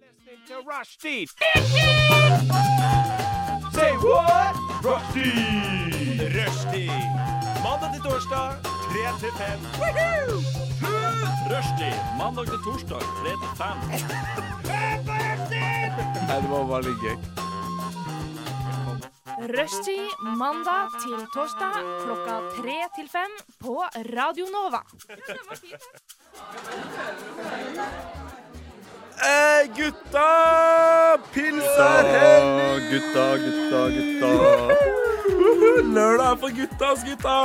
listening to Rushdie. Say what? Rushdie. Rushdie. Mandag til torsdag, 3 til 5. Rushdie. Mandag til torsdag, 3 til 5. Rushtid mandag til torsdag klokka tre til fem på Radio Nova. Eh, gutta! Pils er Åh, gutta, gutta, gutta. Lørdag er for guttas, gutta!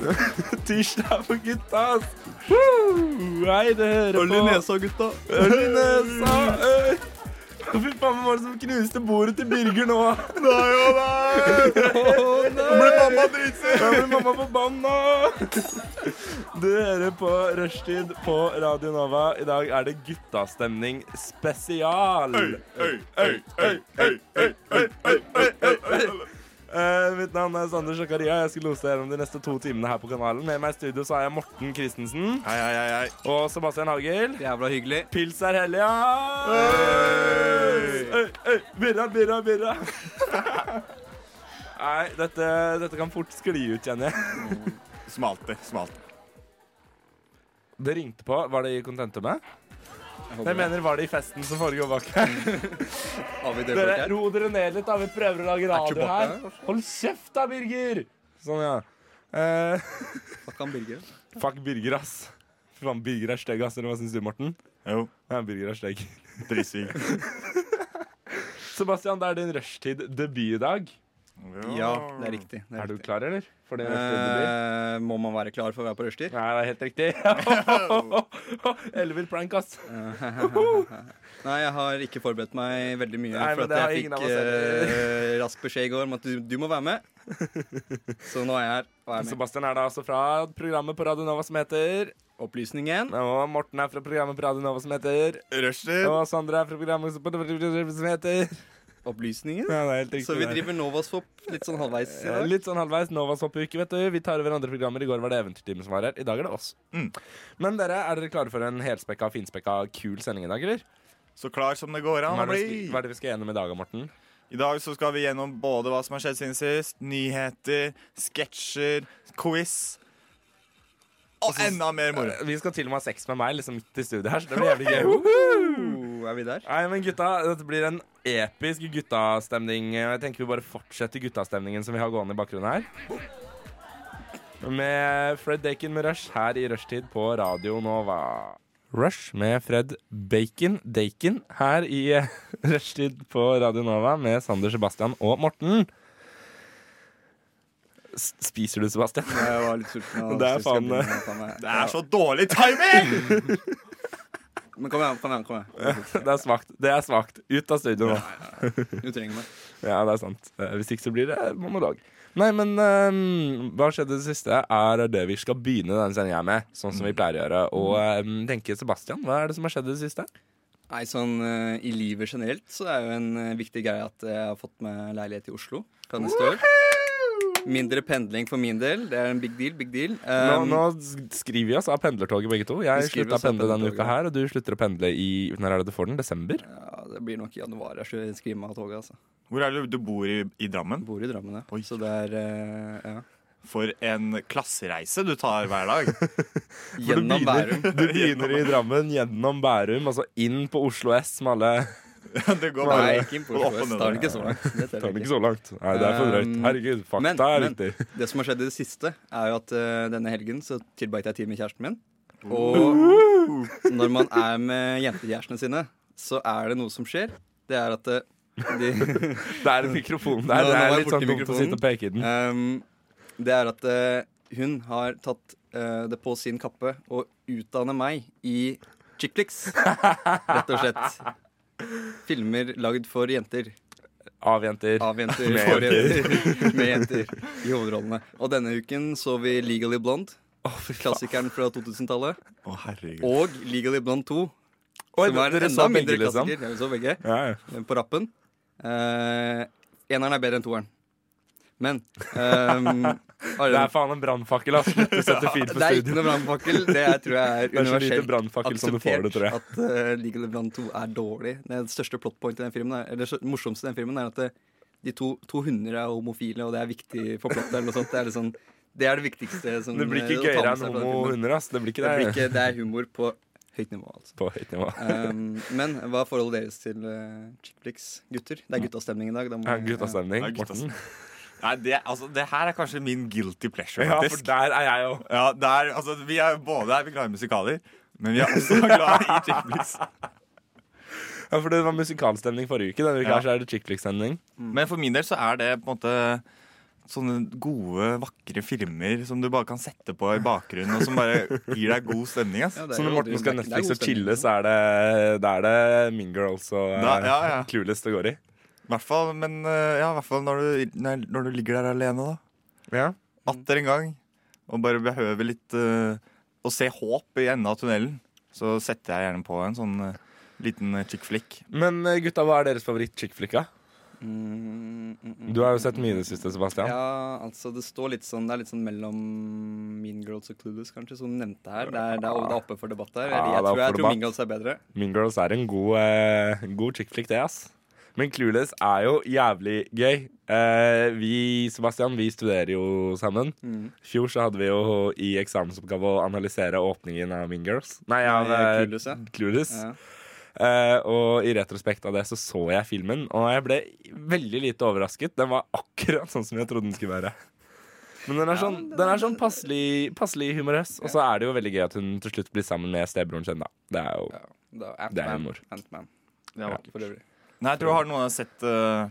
Tirsdag er for guttas! Hei, det hører Øl i nesa, gutta. Øl i nesa! øl. Fy faen, hvem var det som knuste bordet til Birger nå? Nei, å nei! Nå blir mamma dritsur. Da blir mamma forbanna! Du hører på Rushtid på Radio Nova. I dag er det guttastemning spesial. Øy, øy, øy, øy, øy, øy, øy, øy, øy, øy. Eh, mitt navn er Sander Sjakaria. Jeg skal lose dere om de neste to timene her på kanalen. Med meg i studio så har jeg Morten Christensen Hei, hei, hei, hei. og Sebastian Hagel. Jævla hyggelig. Pils er hellig, ja! Hey! Øy, øy, Birra, birra, birra. Nei, dette, dette kan fort skli ut, kjenner jeg. Smalt det, smalt det. Det ringte på. Var det i kontentumet? Jeg mener, var det i festen som foregår bak her? Har vi det Dere, folk her? ro dere ned litt, da. Vi prøver å lage radio her. Hold kjeft, da, Birger! Sånn, ja. Eh, Fuck han Birger. fuck Birger, ass. Fy faen, Birger er stygg, ass. Eller hva syns du, Morten? Jo, Ja, Birger er stygg. dritsvig. Sebastian, det er din rushtid-debut i dag. Ja, Oh. det er riktig. Det er Er du riktig. klar, eller? For din rushtid-debut? Eh, må man være klar for å være på rushtid? Nei, det er helt riktig. Ellevill prank, ass. Nei, jeg har ikke forberedt meg veldig mye. Nei, for men det at har jeg ingen av fikk oss eh, rask beskjed i går om at du, du må være med. Så nå er jeg her. Og er med. Sebastian er da altså fra programmet på Radio Nova som heter Opplysningen. Og Morten er fra programmet på Radio Nova som heter Eh. Rushtid. Og Sondre er fra programmet som heter Opplysningen. Ja, det er helt riktig. Så vi det. driver Novasfop litt sånn halvveis i Eh, dag. Litt sånn halvveis Novas hoppuke, vet du. Vi tar over andre programmer. I går var det Eventyrtimen som var her. I dag er det oss. Mm. Men dere, er dere klare for en helspekka, finspekka, kul sending i dag, eller? Så klar som det går an Hva er å det vi bli. skal, hva er det vi skal gjennom i dag, Morten? I dag så skal vi gjennom både hva som har skjedd siden sist, nyheter, sketsjer, quiz og enda mer moro. Vi skal til og med ha sex med meg liksom midt i studiet her, så det blir jævlig gøy. Woohoo! Oh, er vi der? Nei, men gutta, dette blir en episk guttastemning. Jeg tenker vi bare fortsetter guttastemningen som vi har gående i bakgrunnen her. Med Fred Dakin med Rush her i rushtid på Radio Nova. Rush med Fred Bacon Dakin her i eh, rushtid på Radio Nova med Sander, Sebastian og Morten. S spiser du, Sebastian? Jeg var litt sulten. og Det er synes jeg skal faen- begynne med faen meg. Det er så dårlig timing! Men kom igjen, kom igjen. kom igjen. Det er svakt. Det er svakt. Ut av studio nå. Du trenger meg. Ja, det er sant. Eh, Hvis ikke så blir det monolog. Nei, men ehm, hva skjedde det siste, er det vi skal begynne denne sendinga med. Sånn som vi pleier å gjøre. Og ehm, tenke Sebastian, hva er det som har skjedd det siste? Nei, sånn eh, I livet generelt så er jo en eh, viktig greie at jeg har fått meg leilighet i Oslo fra neste år. Mindre pendling for min del. Det er en big deal. big deal Nå, Um, nå sk- skriver vi oss av pendlertoget begge to. Jeg Vi skriver slutta å oss av pendle denne pendlertoget. uka her, og du slutter å pendle i Når er det du får den? Desember? Ja, Det blir nok i januar jeg skal skrive meg av toget. altså Hvor er det du bor i, i Drammen? Bor i Drammen, ja. Oi. Så det er eh, ja. For en klassereise du tar hver dag. For Gjennom Bærum. Du begynner i Drammen, gjennom Bærum, altså inn på Oslo S med alle Det går Nei, bare ikke inn på opp Oslo og S. ned. Tar det ikke så langt. Det Tar teller den ikke. ikke Ehm, så langt. Nei, det er for drøyt. Um, Herregud, men- fakta er men- viktig. Det som har skjedd i det siste, er jo at eh, denne helgen så tilbrakte jeg tid med kjæresten min. Og når man er med jentekjærestene sine, så er det noe som skjer. Det er at eh, de Det er en mikrofon Nå- der. nå Det var er jeg litt borti sånn dumt å mikrofonen. sitte og peke i den. Um, det er at eh, hun har tatt eh, det på sin kappe å utdanne meg i chicklicks. Rett og slett. Filmer lagd for jenter. Av jenter. Av jenter. Med For jenter. Med jenter i hovedrollene. Og denne uken så vi Legally Blonde. Klassikeren fra 2000-tallet. Å, herregud. Og Legally Blonde 2, Oi, som var en dere enda så mindre begge, liksom? klassiker. Ja, vi så begge Ja, ja. på rappen. Eh, eneren er bedre enn toeren. Men ehm, Det Arild- er faen en brannfakkel, ass. Slutt å sette fyr på det er ikke studio. noe brannfakkel. Det er, tror jeg Det er er så lite universelt brannfakkel som du får det, tror jeg. akseptert at eh, League of the Brand 2 er dårlig. Det største plotpointet i den filmen, er, eller så- morsomste i den filmen, er at det, de to, to hunder er homofile, og det er viktig for plottet. Eller noe sånt. Det, er litt sånn, det er det viktigste som Det blir eh, ikke å ta gøyere med enn seg fra den homo filmen. hunder, ass. Det blir ikke Det, blir det. ikke, det er humor på høyt nivå, altså. På høyt nivå. Ehm, men hva er forholdet deres til uh, chickflix, gutter? Det er guttastemning i dag. Da må, Mm. Ja, Guttastemning. Ja, Morten. guttastemning. Nei, det, altså, det her er kanskje min guilty pleasure, Ja, for faktisk. der er jeg jo. Ja, der, altså, vi er både er vi glad i musikaler, men vi er også glad i chickflicks. Ja, for det var musikalstemning forrige uke. Denne uka Ja. her så er det chicklick-stemning. Men for min del så er det på en måte sånne gode, vakre filmer som du bare kan sette på i bakgrunnen, og som bare gir deg god stemning. ass. Ja, det er Så når jo- Morten det er- skal det er god Netflix og stemning, chille, liksom. så er det, da er det Mean Girls og eh, Da- ja, ja. Clueless det går i. I hvert fall, men eh, ja, i hvert fall når du, når, når du ligger der alene, da. Ja. Atter en gang. Og bare behøver litt eh, å se håp i enden av tunnelen. Så setter jeg gjerne på en sånn eh, liten eh, chick flick. Men eh, gutta, hva er deres favoritt-chickflick? da? Mm, mm, mm. Du har jo sett mye i det siste, Sebastian. Ja, altså det står litt sånn Det er litt sånn mellom Mean Girls og Clueless, kanskje, som du nevnte her. Det er, det er, det er oppe for debatt Ja, der. Jeg, det er jeg, oppe tror, for jeg tror debatt. Mean Girls er bedre. Mean Girls er en god, eh, god chickflick, det, ass. Men Clueless er jo jævlig gøy. Eh, vi, Sebastian, vi studerer jo sammen. Mm. I fjor så hadde vi jo i eksamensoppgave å analysere åpningen av Mean Girls. Nei, av Nei, eh, Clueless, ja. Clueless. Ja. Eh, og i retrospekt av det så så jeg filmen, og jeg ble veldig lite overrasket. Den var akkurat sånn som jeg trodde den skulle være. Men den er sånn, den er sånn passelig, passelig humorøs, og så er det jo veldig gøy at hun til slutt blir sammen med stebroren sin, da. Det er jo Ja, da, Det er Ant-Man, humor. Ant-Man, Ja. for øvrig. Nei, jeg tror har noen av dere sett eh,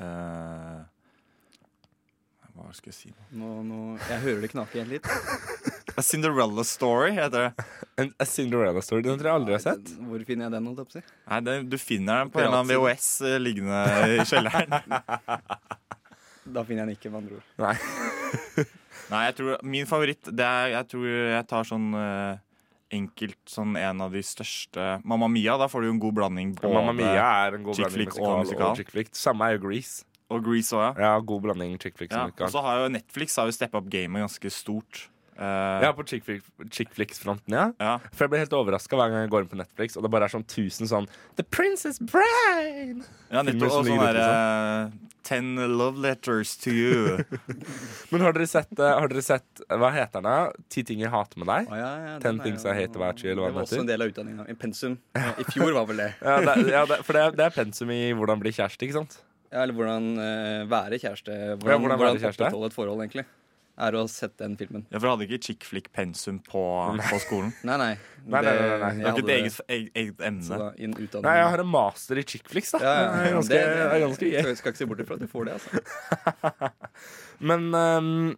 eh, Hva skal jeg si nå? Nå, nå, jeg hører det knake igjen litt. A Cinderella Story heter det. en A Cinderella Story. Den tror jeg aldri jeg har sett. Den- Hvor finner jeg den, holdt jeg på å si? Nei, det, Du finner den på en eller annen Piratsiden. VHS eh, liggende i kjelleren. Da finner jeg den ikke, med andre ord. Nei. Nei, jeg tror min favoritt det er, Jeg tror jeg tar sånn eh, enkelt sånn en av de største Mamma Mia, da får du jo en god blanding. både- Mamma Mia er en god chick blanding flick musikal og og, musikal. chick flick. Samme er jo Grease. Og Grease òg, ja. Ja, god blanding chick flick ja. som Og musikal. så har jo Netflix har jo steppa opp gamet ganske stort. Eh, Ja, på chick flick- chick flicks-fronten, ja. ja. For jeg blir helt overraska hver gang jeg går inn på Netflix, og det bare er sånn 1000 sånn The Princess Bride! ja, Filmer nettopp. som Og sånn ligger ute, liksom. derre eh, Ten love letters to you. Men har dere sett, eh, har dere sett eh, hva heter den? da? Ti ting jeg hater med deg? Å, ja, ja, den Ten er things jo- I hate about you, eller hva Det var den heter. også en del av utdanninga. I pensum. I fjor var vel det. Ja, det, ja, det, for det, er- det er pensum i hvordan bli kjæreste, ikke sant? Ja, eller hvordan eh, være kjæreste. Hvordan, Ja, hvordan hvordan, være kjæreste? opprettholde et forhold, egentlig. Er å ha sett den filmen. Ja, for jeg hadde ikke chick flick pensum på, på skolen. Nei, nei. Nei, nei, nei, nei, nei. Det jeg var ikke hadde et eget, eget, eget Så emne. da, i en utdanning Nei, jeg har en master i chickflix, da. ja, ja, Det er ganske, det- det er ganske gøy. Skal, skal ikke se bort ifra at du får det, altså. Men, ehm,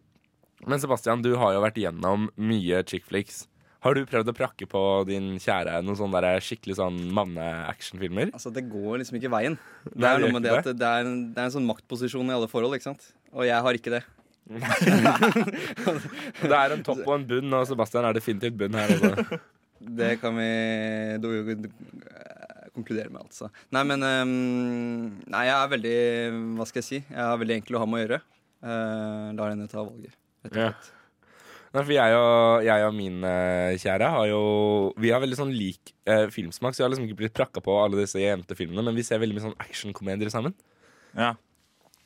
men Sebastian, du har jo vært gjennom mye chickflix. Har du prøvd å prakke på din kjære noen sånne der skikkelig sånn manne-actionfilmer? altså. Det går liksom ikke veien. Det Nei, er det noe gjør med det ikke at det er, en, det er en sånn maktposisjon i alle forhold, ikke sant. Og jeg har ikke det. Det er en topp og en bunn, og Sebastian er definitivt bunn her. Altså. Det kan vi do, eh, konkludere med, altså. Nei, men ehm, Nei, jeg er veldig Hva skal jeg si? Jeg er veldig enkel å ha med å gjøre. Eh, lar henne ta valget. Ja. Nei, for jeg og, jeg og min eh, kjære har jo Vi har veldig sånn lik eh, filmsmak, så jeg har liksom ikke blitt prakka på alle disse jentefilmene, men vi ser veldig mye sånn actionkomedier sammen. Ja.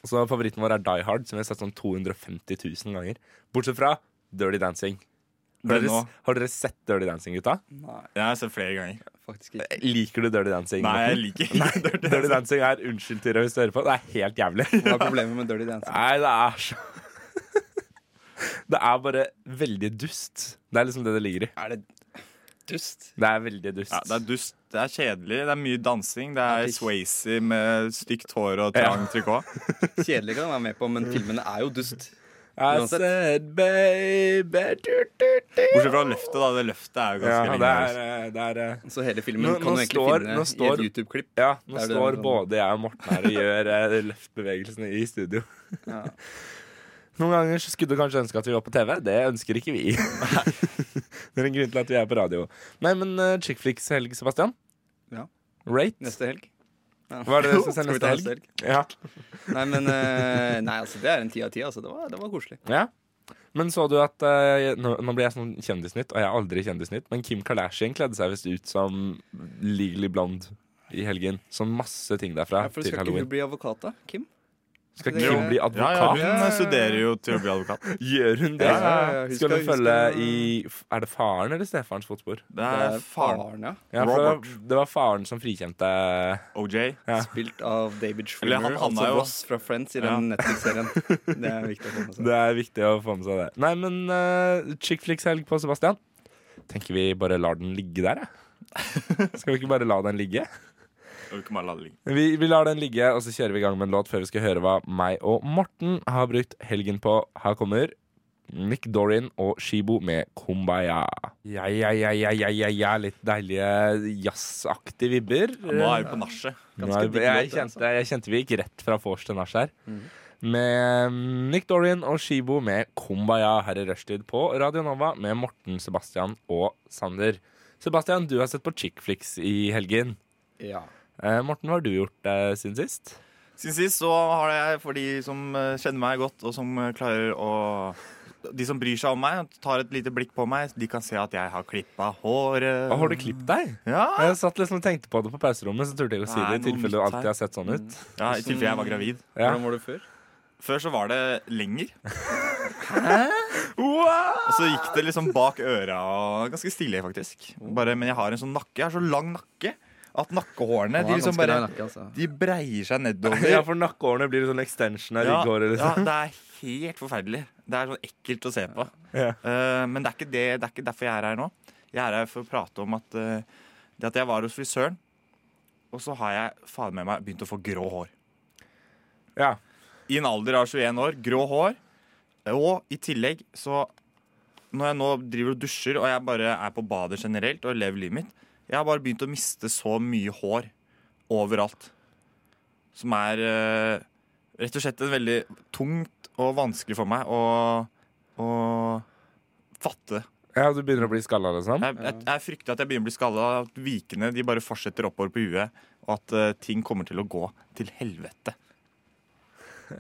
Så favoritten vår er Die Hard, som vi har sett sånn 250 000 ganger. Bortsett fra Dirty Dancing. Har Den dere, nå. har dere sett Dirty Dancing, gutta? Nei, Jeg har sett flere ganger. faktisk ikke. Liker du Dirty Dancing? Nei, jeg Morten? liker ikke Dirty Dirty Dancing er Unnskyld, Tyra, hvis du hører på. Det er helt jævlig. Hva er problemet med Dirty Dancing? Nei, det er så Det er bare veldig dust. Det er liksom det det ligger i. Er det dust? Det er veldig dust. Ja, det er dust, det er kjedelig, det er mye dansing. Det Ja, er det- Swayze med stygt hår og trang trikot. Kjedelig kan jeg være med på, men filmene er jo dust. I Uansett. said baby du, du, du. Bortsett fra løftet, da. Det løftet er jo Ja, ganske det lenge. er, eh, det er eh, Så hele filmen Nå- kan nå du egentlig står- finne nå i står- et YouTube-klipp. Ja, nå Det er det står sånn. både jeg og Morten her og gjør eh, løftbevegelsene i studio. Ja. Noen ganger så skulle du kanskje ønske at vi var på TV. Det ønsker ikke vi. det er en grunn til at eh, vi er på radio. Nei, men uh, chickflix-helg, Sebastian. Ja. Rate. Neste helg. Hva er det som Skal sendes vi ta til helg? neste helg? Ja. Nei, men eh, Nei, altså, det er en ti av ti. Altså. Det, var, det var koselig. ja. Men så du at eh, nå, nå blir jeg sånn kjendisnytt, og jeg er aldri kjendisnytt, men Kim Kardashian kledde seg visst ut som Legally Blonde i helgen. Sånn masse ting derfra Ja, for til skal ikke halloween. hun bli advokat, da? Kim? Skal det- Kim bli Ja, ja, advokat? hun eh, studerer jo til å bli advokat. Gjør hun det? Ja, ja, ja, hun Skal skal- hun hun følge skal- i Er det faren eller stefarens fotspor? Det er faren. ja. Ja, for det var- Robert. det var faren som frikjente OJ. Spilt av David Eller Schwimmer, han altså havna jo- Ross fra Friends i den Netflix-serien. Det er viktig å få med seg. Det er viktig å få med seg det. Nei, men uh, chick flicks-helg på Sebastian. Tenker vi bare lar den ligge der, jeg. Skal vi ikke bare la den ligge? Og vi kan bare la det ligge. Vi, vi lar den ligge, og så kjører vi i gang med en låt før vi skal høre hva meg og Morten har brukt helgen på. Her kommer Nick Dorin og Shibo med Kumbaya. Ja, ja, ja, ja, ja, ja, ja. Litt deilige jazzaktige vibber. Nå er vi på nachet. Nå Ganske er vi- jeg, digg låt, det, altså. kjente, jeg kjente vi gikk rett fra vors til nach her. Mm. Med mm, Nick Dorian og Shibo med Kumbaya her i rushtid på Radio Nova med Morten, Sebastian og Sander. Sebastian, du har sett på Chickflix i helgen. Ja. Eh, Morten, hva har du gjort eh, siden sist? Siden sist så har jeg, for de som eh, kjenner meg godt, og som eh, klarer å De som bryr seg om meg, og tar et lite blikk på meg, de kan se at jeg har klippa håret. Å, har du klippet deg? Ja. Jeg satt liksom og tenkte på det på pauserommet, så turte jeg ikke å si Nei, det. I noe tilfelle du nytt alltid her. har sett sånn ut. ja, I tilfelle jeg var gravid. Ja. Hvordan var du før? Før så var det lenger. Mm. Og så gikk det liksom bak øra og ganske stille, faktisk. Bare, men jeg har en sånn nakke. Jeg har så lang nakke at nakkehårene de liksom bare altså. De breier seg nedover. Ja, for nakkehårene blir sånn extension av Ja, rygghåret. ja, Liksom. det er helt forferdelig. Det er sånn ekkelt å se på. Ja. Eh, men det er, ikke det, det er ikke derfor jeg er her nå. Jeg er her for å prate om at, eh, det at jeg var hos frisøren, og så har jeg faen med meg begynt å få grå hår. Ja. I en alder av 21 år. Grå hår. Og i tillegg så Når jeg nå driver og dusjer, og jeg bare er på badet generelt og lever livet mitt Jeg har bare begynt å miste så mye hår overalt. Som er eh, rett og slett en veldig tungt og vanskelig for meg å, å fatte. ja, du begynner å bli skalla, liksom? Jeg, jeg, jeg frykter at jeg begynner å bli skalla, at vikene de bare fortsetter oppover på huet, og at eh, ting kommer til å gå til helvete.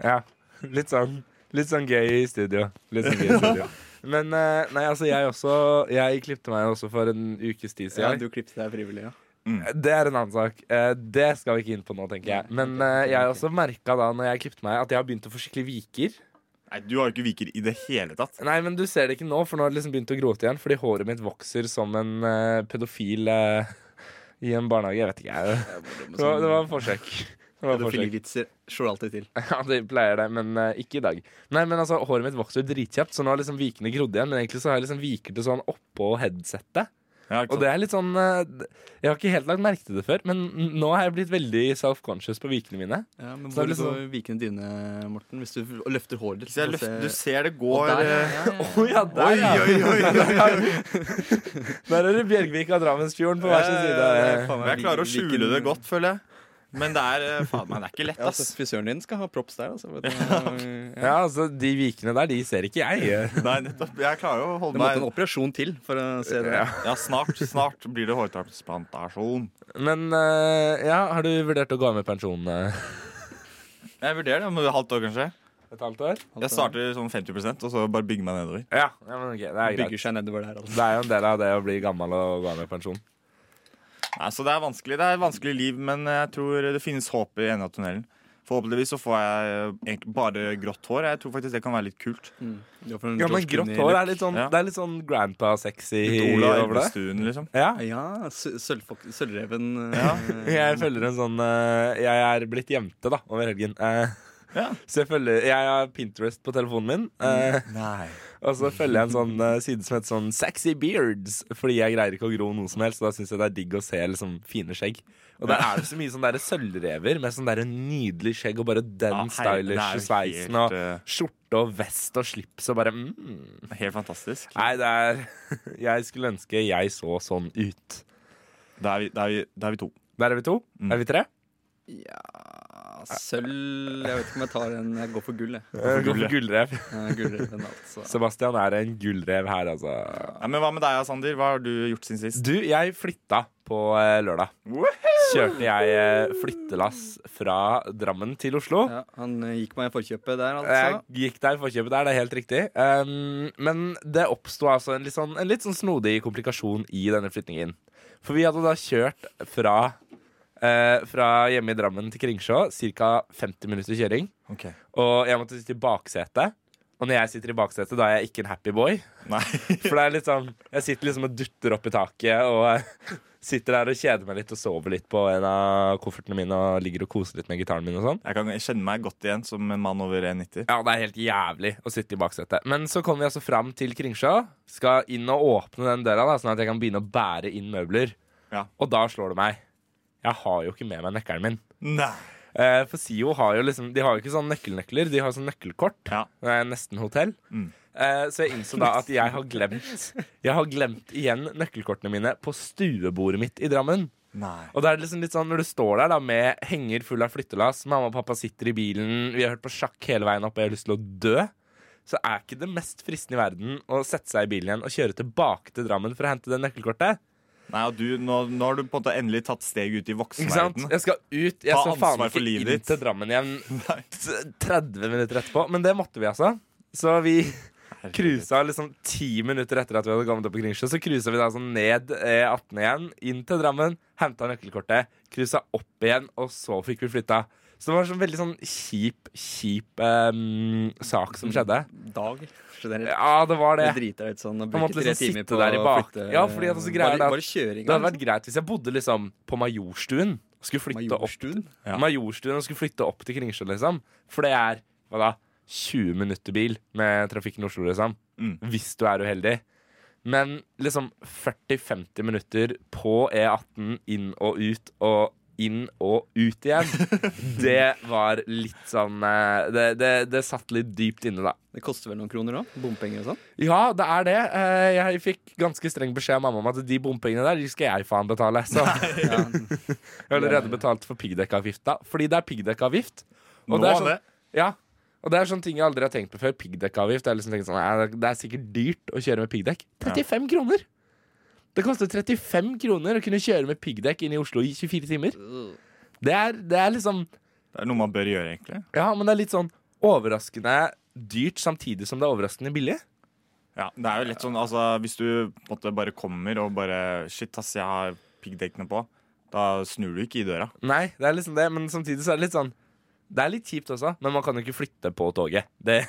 Ja, litt sånn Litt sånn gøy i studio. Litt sånn gøy i studio. Men eh, nei, altså jeg også Jeg klippte meg også for en ukes tid Ja, siden. du klippet deg frivillig, ja. Det er en annen sak. Eh, det skal vi ikke inn på nå, tenker jeg. Men eh, jeg også merka da når jeg klippte meg, at jeg har begynt å få skikkelig viker. Nei, Du har jo ikke viker i det hele tatt. Nei, men du ser det ikke nå, for nå har det liksom begynt å gro ut igjen. Fordi håret mitt vokser som en eh, pedofil eh, i en barnehage. Jeg vet ikke, jeg. Det var, det var et forsøk. Det var et forsøk. Pedofilivitser slår alltid til. Ja, det pleier det, men eh, ikke i dag. Nei, men altså, Håret mitt vokser jo dritkjapt, så nå har liksom vikene grodd igjen. Men egentlig så har jeg liksom viker til sånn oppå headsettet. Ja, ikke Og sant? det er litt sånn eh, d- Jeg har ikke helt lagt merke til det før, men n- nå har jeg blitt veldig self-conscious på vikene mine. Ja, men Så er hvor det går liksom- vikene dine, Morten? Hvis du f- løfter håret ditt Så jeg så løfter, ser- du ser det Å, går der, ja, eh, ja, Å ja, ja. Oi, der, ja! oi, oi, oi, oi. Der er det Bjørgvik og Drammensfjorden på hver sin Ja, side. faen meg, Jeg klarer å hvilken- skjule det godt, føler jeg. Men det er, eh, faen meg, det er ikke lett, Ja, altså, ass. frisøren din skal ha props der, altså. Vet du. Ja, altså, De vikene der, de ser ikke jeg. Nei, nettopp. Jeg klarer jo å Det holde måtte en meg operasjon til for å se det. Ja, snart, snart blir det hårtransplantasjon. Men eh, ja, har du vurdert å gå av med pensjon eh, Jeg vurderer det om et halvt år, kanskje. et halvt år? Jeg starter sånn 50 og så bare bygger meg nedover. Ja, ja men ok, det er greit. Bygger seg nedover der, altså. Det er jo en del av det å bli gammel og gå av med pensjon. Nei, så det er vanskelig. Det er et vanskelig liv, men jeg tror det finnes håp i enden av tunnelen. Forhåpentligvis så får jeg eh, egentlig bare grått hår. Jeg tror faktisk det kan være litt kult. Ja, for en Ja, men George grått Clooney- hår er litt sånn, Ja. det er litt sånn grandpa-sexy Litt Ola over det. Elvestuen, liksom. Ja. Ja, sø- sølvfok- sølvreven. Ja. eh, Jeg følger en sånn eh, Jeg er blitt jente, da, over helgen. Eh, Ja. Så jeg følger Jeg har Pinterest på telefonen min, eh, Nei. og så følger jeg en sånn eh, side som heter sånn Sexy Beards, fordi jeg greier ikke å gro noe som helst, og da syns jeg det er digg å se liksom fine skjegg. Og der er det så mye sånn derre sølvrever med sånn derre nydelig skjegg og bare den Ja, hei, det er stylish jo sveisen helt, og eh, skjorte og vest og slips og bare mm. Helt fantastisk. Nei, det er Jeg skulle ønske jeg så sånn ut. Da er vi, da er vi, da er vi to. Der er vi to. Er vi tre? ja Ja, sølv Jeg vet ikke om jeg tar en Jeg går for gull, jeg. Gå for gullrev. Eh, Gullreven, altså. Sebastian er en gullrev her, altså. Ja, men hva med deg, Sander? Hva har du gjort siden sist? Du, jeg flytta på eh, lørdag. Kjørte jeg eh, flyttelass fra Drammen til Oslo. Ja, han eh, gikk meg i forkjøpet der, Jeg altså. gikk der i forkjøpet der, det er helt riktig. Um, men det oppsto altså en litt, sånn, en litt sånn snodig komplikasjon i denne flyttingen. For vi hadde da kjørt fra, eh, fra hjemme i Drammen til Kringsjå, ca. 50 minutter kjøring. Ok. Og jeg måtte sitte i baksetet. Og når jeg sitter i baksetet, da er jeg ikke en happy boy. Nei. For det er litt sånn, jeg sitter liksom og dutter opp i taket og eh, sitter der og kjeder meg litt og sover litt på en av koffertene mine og ligger og koser litt med gitaren min og sånn. Jeg kan kjenne meg godt igjen som en mann over 1,90. Ja, det er helt jævlig å sitte i baksetet. Men så kommer vi altså fram til Kringsjå. Skal inn og åpne den døra, da, sånn at jeg kan begynne å bære inn møbler. Ja. Og da slår det meg. Jeg har jo ikke med meg nøkkelen min. Nei. Eh, for SIO har jo liksom De har jo ikke sånn nøkkelnøkler, de har sånn nøkkelkort. Ja. Det er nesten hotell. Mm. Eh, så jeg innså da at jeg har glemt Jeg har glemt igjen nøkkelkortene mine på stuebordet mitt i Drammen. Nei. Og det er liksom litt sånn Når du står der da med henger full av flyttelass, mamma og pappa sitter i bilen, vi har hørt på sjakk hele veien opp, og jeg har lyst til å dø, så er ikke det mest fristende i verden å sette seg i bilen igjen og kjøre tilbake til Drammen for å hente det nøkkelkortet. Nei, og du, nå, nå har du på en måte endelig tatt steget ut i Ikke sant? voksenverdenen. Jeg skal ut. Jeg Ta skal faen ansvar for ikke livet inn ditt. til Drammen igjen Nei. t- 30 minutter etterpå. Men det måtte vi, altså. Så vi cruisa liksom ti minutter etter at vi hadde kommet opp i Kringsjø. Så cruisa vi da sånn ned eh, 18 igjen, inn til Drammen, henta nøkkelkortet, cruisa opp igjen, og så fikk vi flytta. Så det var en sånn veldig sånn kjip, kjip ehm, sak som skjedde. Dag. Generelt. Ja, det var Mm. Det det. driter deg ut sånn. å Man bruke måtte tre liksom timer sitte på der i å bak- flytte- Ja, fordi at også greier er bare, at- bare kjøring. Det hadde vært greit hvis jeg bodde liksom på Majorstuen. og Skulle flytte opp Majorstuen. Ja. Majorstuen og skulle flytte opp til Kringsjå, liksom. For det er hva da, 20 minutter bil med trafikken i Oslo, liksom. Mm. Hvis du er uheldig. Men liksom 40-50 minutter på E18 inn og ut og inn og ut igjen, det var litt sånn eh, Det, det, det satt litt dypt inne, da. Det koster vel noen kroner òg? Bompenger og sånn? Ja, det er det. Eh, Jeg fikk ganske streng beskjed av mamma om at de bompengene der, de skal jeg faen betale. Så jeg Ja. har allerede betalt for piggdekkavgifta. Fordi det er piggdekkavgift. Og Nå det er det. sånn, ja, og det er sånne ting jeg aldri har tenkt på før. Piggdekkavgift. Jeg har liksom tenkt sånn, nei, det- det er sikkert dyrt å kjøre med piggdekk. 35 kroner! Det koster 35 kroner å kunne kjøre med piggdekk inn i Oslo i 24 timer. Det er, det er liksom det er noe man bør gjøre, egentlig. Ja, men det er litt sånn overraskende dyrt samtidig som det er overraskende billig. Ja, det er jo litt sånn, altså Hvis du på en måte bare kommer og bare Shit, ass, jeg har piggdekkene på. Da snur du ikke i døra. Nei, det er liksom det, men samtidig så er det litt sånn Det er litt kjipt også, men man kan jo ikke flytte på toget. Det,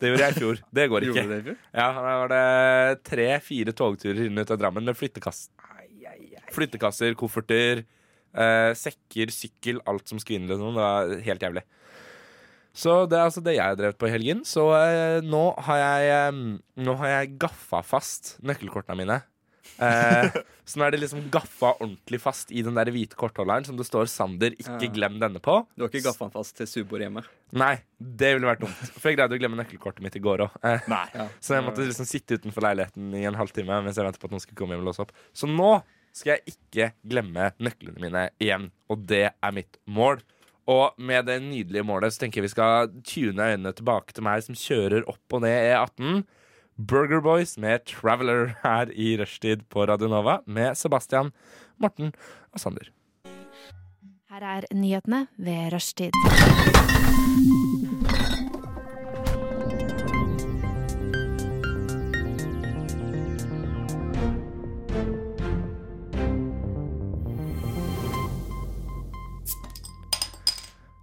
det gjorde jeg i fjor. Det går ikke. Gjorde du det i fjor? Ja, Da var det tre-fire togturer inn ut av Drammen med flyttekass. flyttekasser, kofferter, eh, sekker, sykkel, alt som skulle inn. eller noe. sånn. Det var helt jævlig. Så det er altså det jeg har drevet på i helgen. Så eh, nå har jeg eh, Nå har jeg gaffa fast nøkkelkortene mine. Eh, så nå er det liksom gaffa ordentlig fast i den der hvite kortholderen som det står 'Sander, ikke Ja. glem denne' på. Du har ikke gaffa den fast til Subor hjemme? Nei, det ville vært dumt. For jeg greide å glemme nøkkelkortet mitt i går òg. Eh, Nei. Ja. så jeg måtte liksom sitte utenfor leiligheten i en halvtime mens jeg ventet på at noen skulle komme hjem og låse opp. Så nå skal jeg ikke glemme nøklene mine igjen, og det er mitt mål. Og med det nydelige målet så tenker jeg vi skal tune øynene tilbake til meg som kjører opp og ned E18. Burger Boys med Traveler her i rushtid på Radio Nova med Sebastian, Morten og Sander. Her er nyhetene ved rushtid.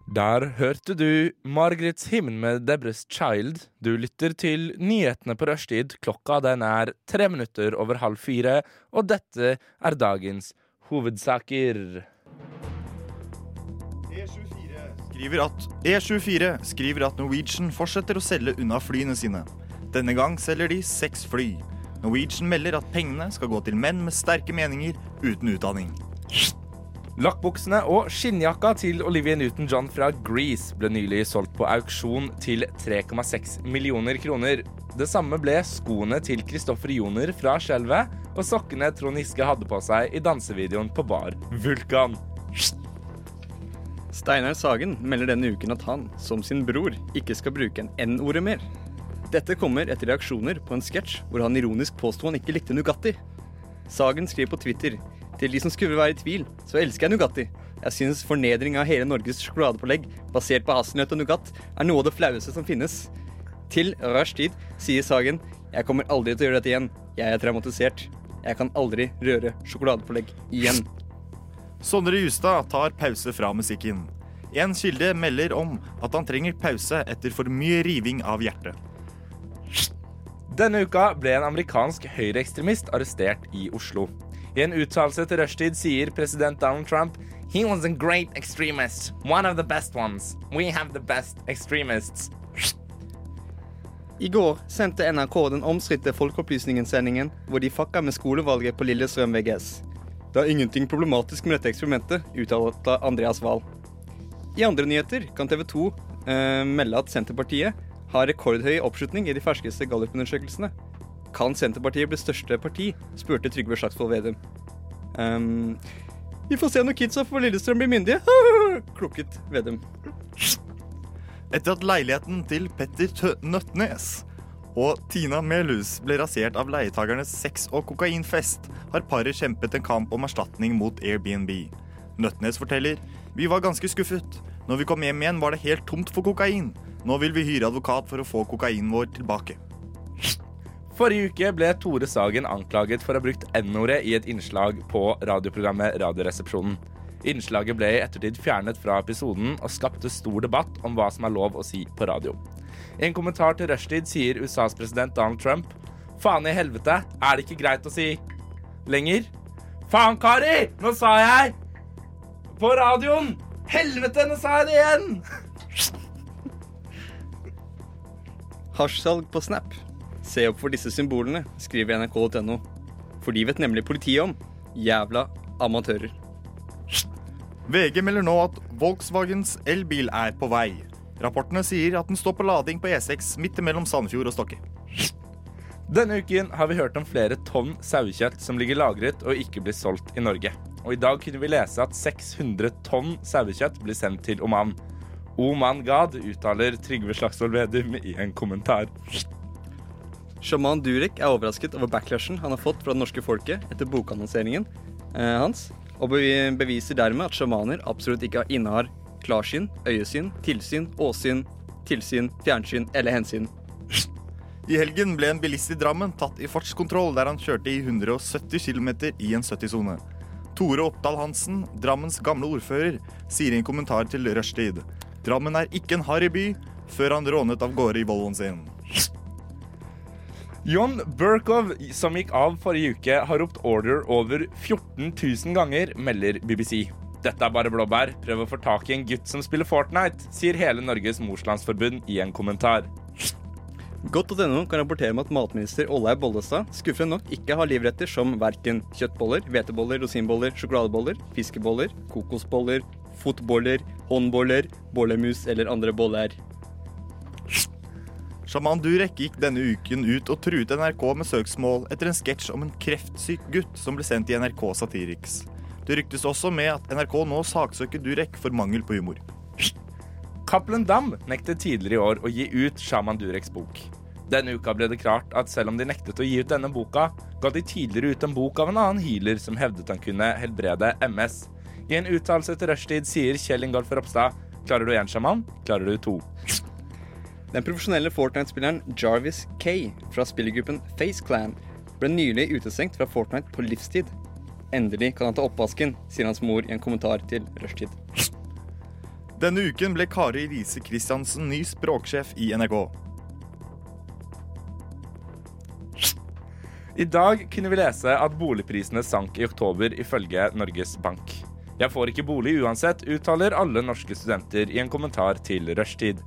Der hørte du Margaret Himmen med Debres Child. Du lytter til nyhetene på rushtid. Klokka den er tre minutter over halv fire, og dette er dagens hovedsaker. Skriver at E24 skriver at Norwegian fortsetter å selge unna flyene sine. Denne gang selger de seks fly. Norwegian melder at pengene skal gå til menn med sterke meninger uten utdanning. Lakkbuksene og skinnjakka til Olivia Newton-John fra Grease ble nylig solgt på auksjon til 3,6 millioner kroner. Det samme ble skoene til Kristoffer Joner fra Skjelvet, og sokkene Trond Giske hadde på seg i dansevideoen på bar Vulkan. Steinar Sagen melder denne uken at han, som sin bror, ikke skal bruke en N-ordet mer. Dette kommer etter reaksjoner på en sketsj hvor han ironisk påsto han ikke likte Nugatti. Sagen skrev på Twitter til de som skulle være i tvil, så elsker jeg Nugatti. Jeg synes fornedring av hele Norges sjokoladepålegg basert på hasselnøtt og nougat er noe av det flaueste som finnes. Til rushtid sier Sagen jeg kommer aldri til å gjøre dette igjen. Jeg er traumatisert. Jeg kan aldri røre sjokoladepålegg igjen. Sondre Justad tar pause fra musikken. En kilde melder om at han trenger pause etter for mye riving av hjertet. Denne uka ble en amerikansk høyreekstremist arrestert i Oslo. I en uttalelse til rushtid sier president Donald Trump He was a great extremist. One of the best ones. We have the best extremists. I går sendte NRK den omstridte Folkeopplysningen-sendingen hvor de fucka med skolevalget på Lillestrøm VGS. Det er ingenting problematisk med dette eksperimentet, uttalte Andreas Wahl. I andre nyheter kan TV 2 eh, melde at Senterpartiet har rekordhøy oppslutning i de ferskeste gallupundersøkelsene. Kan Senterpartiet bli største parti? spurte Trygve Slagsvold Vedum. Ehm, vi får se når kidsa på Lillestrøm blir myndige, klukket Vedum. Etter at leiligheten til Petter Tø Nøtnes og Tina Melhus ble rasert av leietagernes sex- og kokainfest, har paret kjempet en kamp om erstatning mot Airbnb. Nøtnes forteller Vi var ganske skuffet. Når vi kom hjem igjen, var det helt tomt for kokain. Nå vil vi hyre advokat for å få kokainen vår tilbake. Forrige uke ble Tore Sagen anklaget for å ha brukt N-ordet i et innslag på radioprogrammet Radioresepsjonen. Innslaget ble i ettertid fjernet fra episoden og skapte stor debatt om hva som er lov å si på radio. I en kommentar til rushtid sier USAs president Donald Trump Faen i helvete, er det ikke greit å si lenger? Faen, Kari! Nå sa jeg På radioen! Helvete, nå sa jeg det igjen! Hasjsalg på Snap. Se opp for disse symbolene, skriver nrk.no. For de vet nemlig politiet om. Jævla amatører. VG melder nå at Volkswagens elbil er på vei. Rapportene sier at den står på lading på E6 midt mellom Sandfjord og Stokke. Denne uken har vi hørt om flere tonn sauekjøtt som ligger lagret og ikke blir solgt i Norge. Og i dag kunne vi lese at 600 tonn sauekjøtt blir sendt til Oman. Oman Gad uttaler Trygve Slagsvold Vedum i en kommentar. Sjaman Durek er overrasket over backlashen han har fått fra det norske folket etter bokannonseringen eh, hans, og be- beviser dermed at sjamaner absolutt ikke har- innehar klarsyn, øyesyn, tilsyn, åsyn, tilsyn, fjernsyn eller hensyn. I helgen ble en bilist i Drammen tatt i fartskontroll der han kjørte i 170 km i en 70-sone. Tore Oppdal Hansen, Drammens gamle ordfører, sier i en kommentar til Rushtid Drammen er ikke en harry by, før han rånet av gårde i Volvoen sin. John Berkov, som gikk av forrige uke, har ropt order over 14 000 ganger, melder BBC. Dette er bare blåbær. Prøv å få tak i en gutt som spiller Fortnite, sier hele Norges Morslandsforbund i en kommentar. Godt.no kan rapportere om at matminister Olaug Bollestad skuffende nok ikke har livretter som verken kjøttboller, hveteboller, rosinboller, sjokoladeboller, fiskeboller, kokosboller, fotboller, håndboller, bollemus eller andre boller. Sjaman Durek gikk denne uken ut og truet NRK med søksmål etter en sketsj om en kreftsyk gutt som ble sendt i NRK Satiriks. Det ryktes også med at NRK nå saksøker Durek for mangel på humor. Cappelen Dam nektet tidligere i år å gi ut Shaman Dureks bok. Denne uka ble det klart at selv om de nektet å gi ut denne boka, ga de tidligere ut en bok av en annen healer som hevdet han kunne helbrede MS. I en uttalelse til rushtid sier Kjell Ingolf Ropstad Klarer du én sjaman, klarer du to. Den profesjonelle Fortnite-spilleren Jarvis Kay fra spillergruppen Face Clan ble nylig utestengt fra Fortnite på livstid. Endelig kan han ta oppvasken, sier hans mor i en kommentar til Rushtid. Denne uken ble Kari Riise Kristiansen ny språksjef i NRK. I dag kunne vi lese at boligprisene sank i oktober, ifølge Norges Bank. Jeg får ikke bolig uansett, uttaler alle norske studenter i en kommentar til rushtid.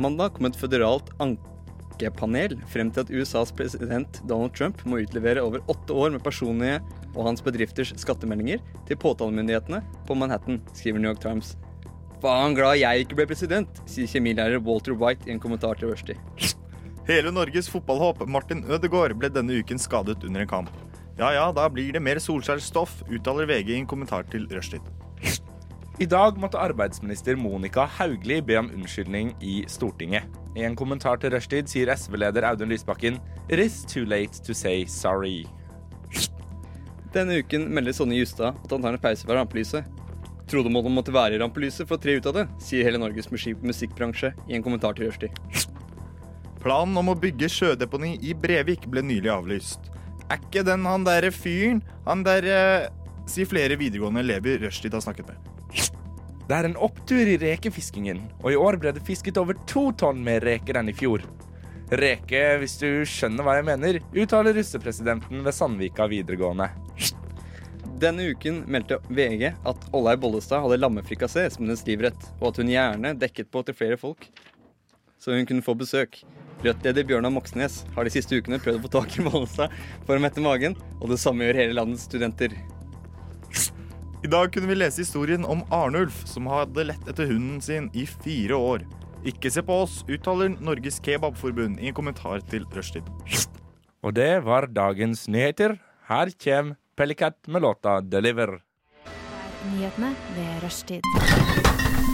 Mandag kom et føderalt ankepanel frem til at USAs president Donald Trump må utlevere over åtte år med personlige og hans bedrifters skattemeldinger til påtalemyndighetene på Manhattan, skriver New York Times. Faen glad jeg ikke ble president, sier kjemilærer Walter White i en kommentar til Rushdie. Hele Norges fotballhåp Martin Ødegaard ble denne uken skadet under en kamp. Ja ja, da blir det mer Solskjær-stoff, uttaler VG i en kommentar til Rushtid. I dag måtte arbeidsminister Monica Hauglie be om unnskyldning i Stortinget. I en kommentar til Rushtid sier SV-leder Audun Lysbakken It is too late to say sorry. Denne uken melder Sonny Justad at han tar en pause fra rampelyset. Trodde man måtte være i rampelyset for å tre ut av det, sier hele Norges musik musikkbransje i en kommentar til Rushdie. Planen om å bygge sjødeponi i Brevik ble nylig avlyst. Er ikke den han derre fyren Han derre Sier flere videregående elever rushtid har snakket med. Det er en opptur i rekefiskingen, og i år ble det fisket over to tonn mer reker enn i fjor. Reke, hvis du skjønner hva jeg mener, uttaler russepresidenten ved Sandvika videregående. Denne uken meldte VG at Ollei Bollestad hadde lammefrikassé som hennes livrett, og at hun gjerne dekket på til flere folk, så hun kunne få besøk. Rødt-leder Bjørnar Moxnes har de siste ukene prøvd å få tak i Bollestad for å mette magen, og det samme gjør hele landets studenter. I dag kunne vi lese historien om Arnulf, som hadde lett etter hunden sin i fire år. Ikke se på oss, uttaler Norges Kebabforbund i en kommentar til rushtid. Og det var dagens nyheter. Her kommer Pellicat med låta 'Deliver'. Nyhetene ved rushtid.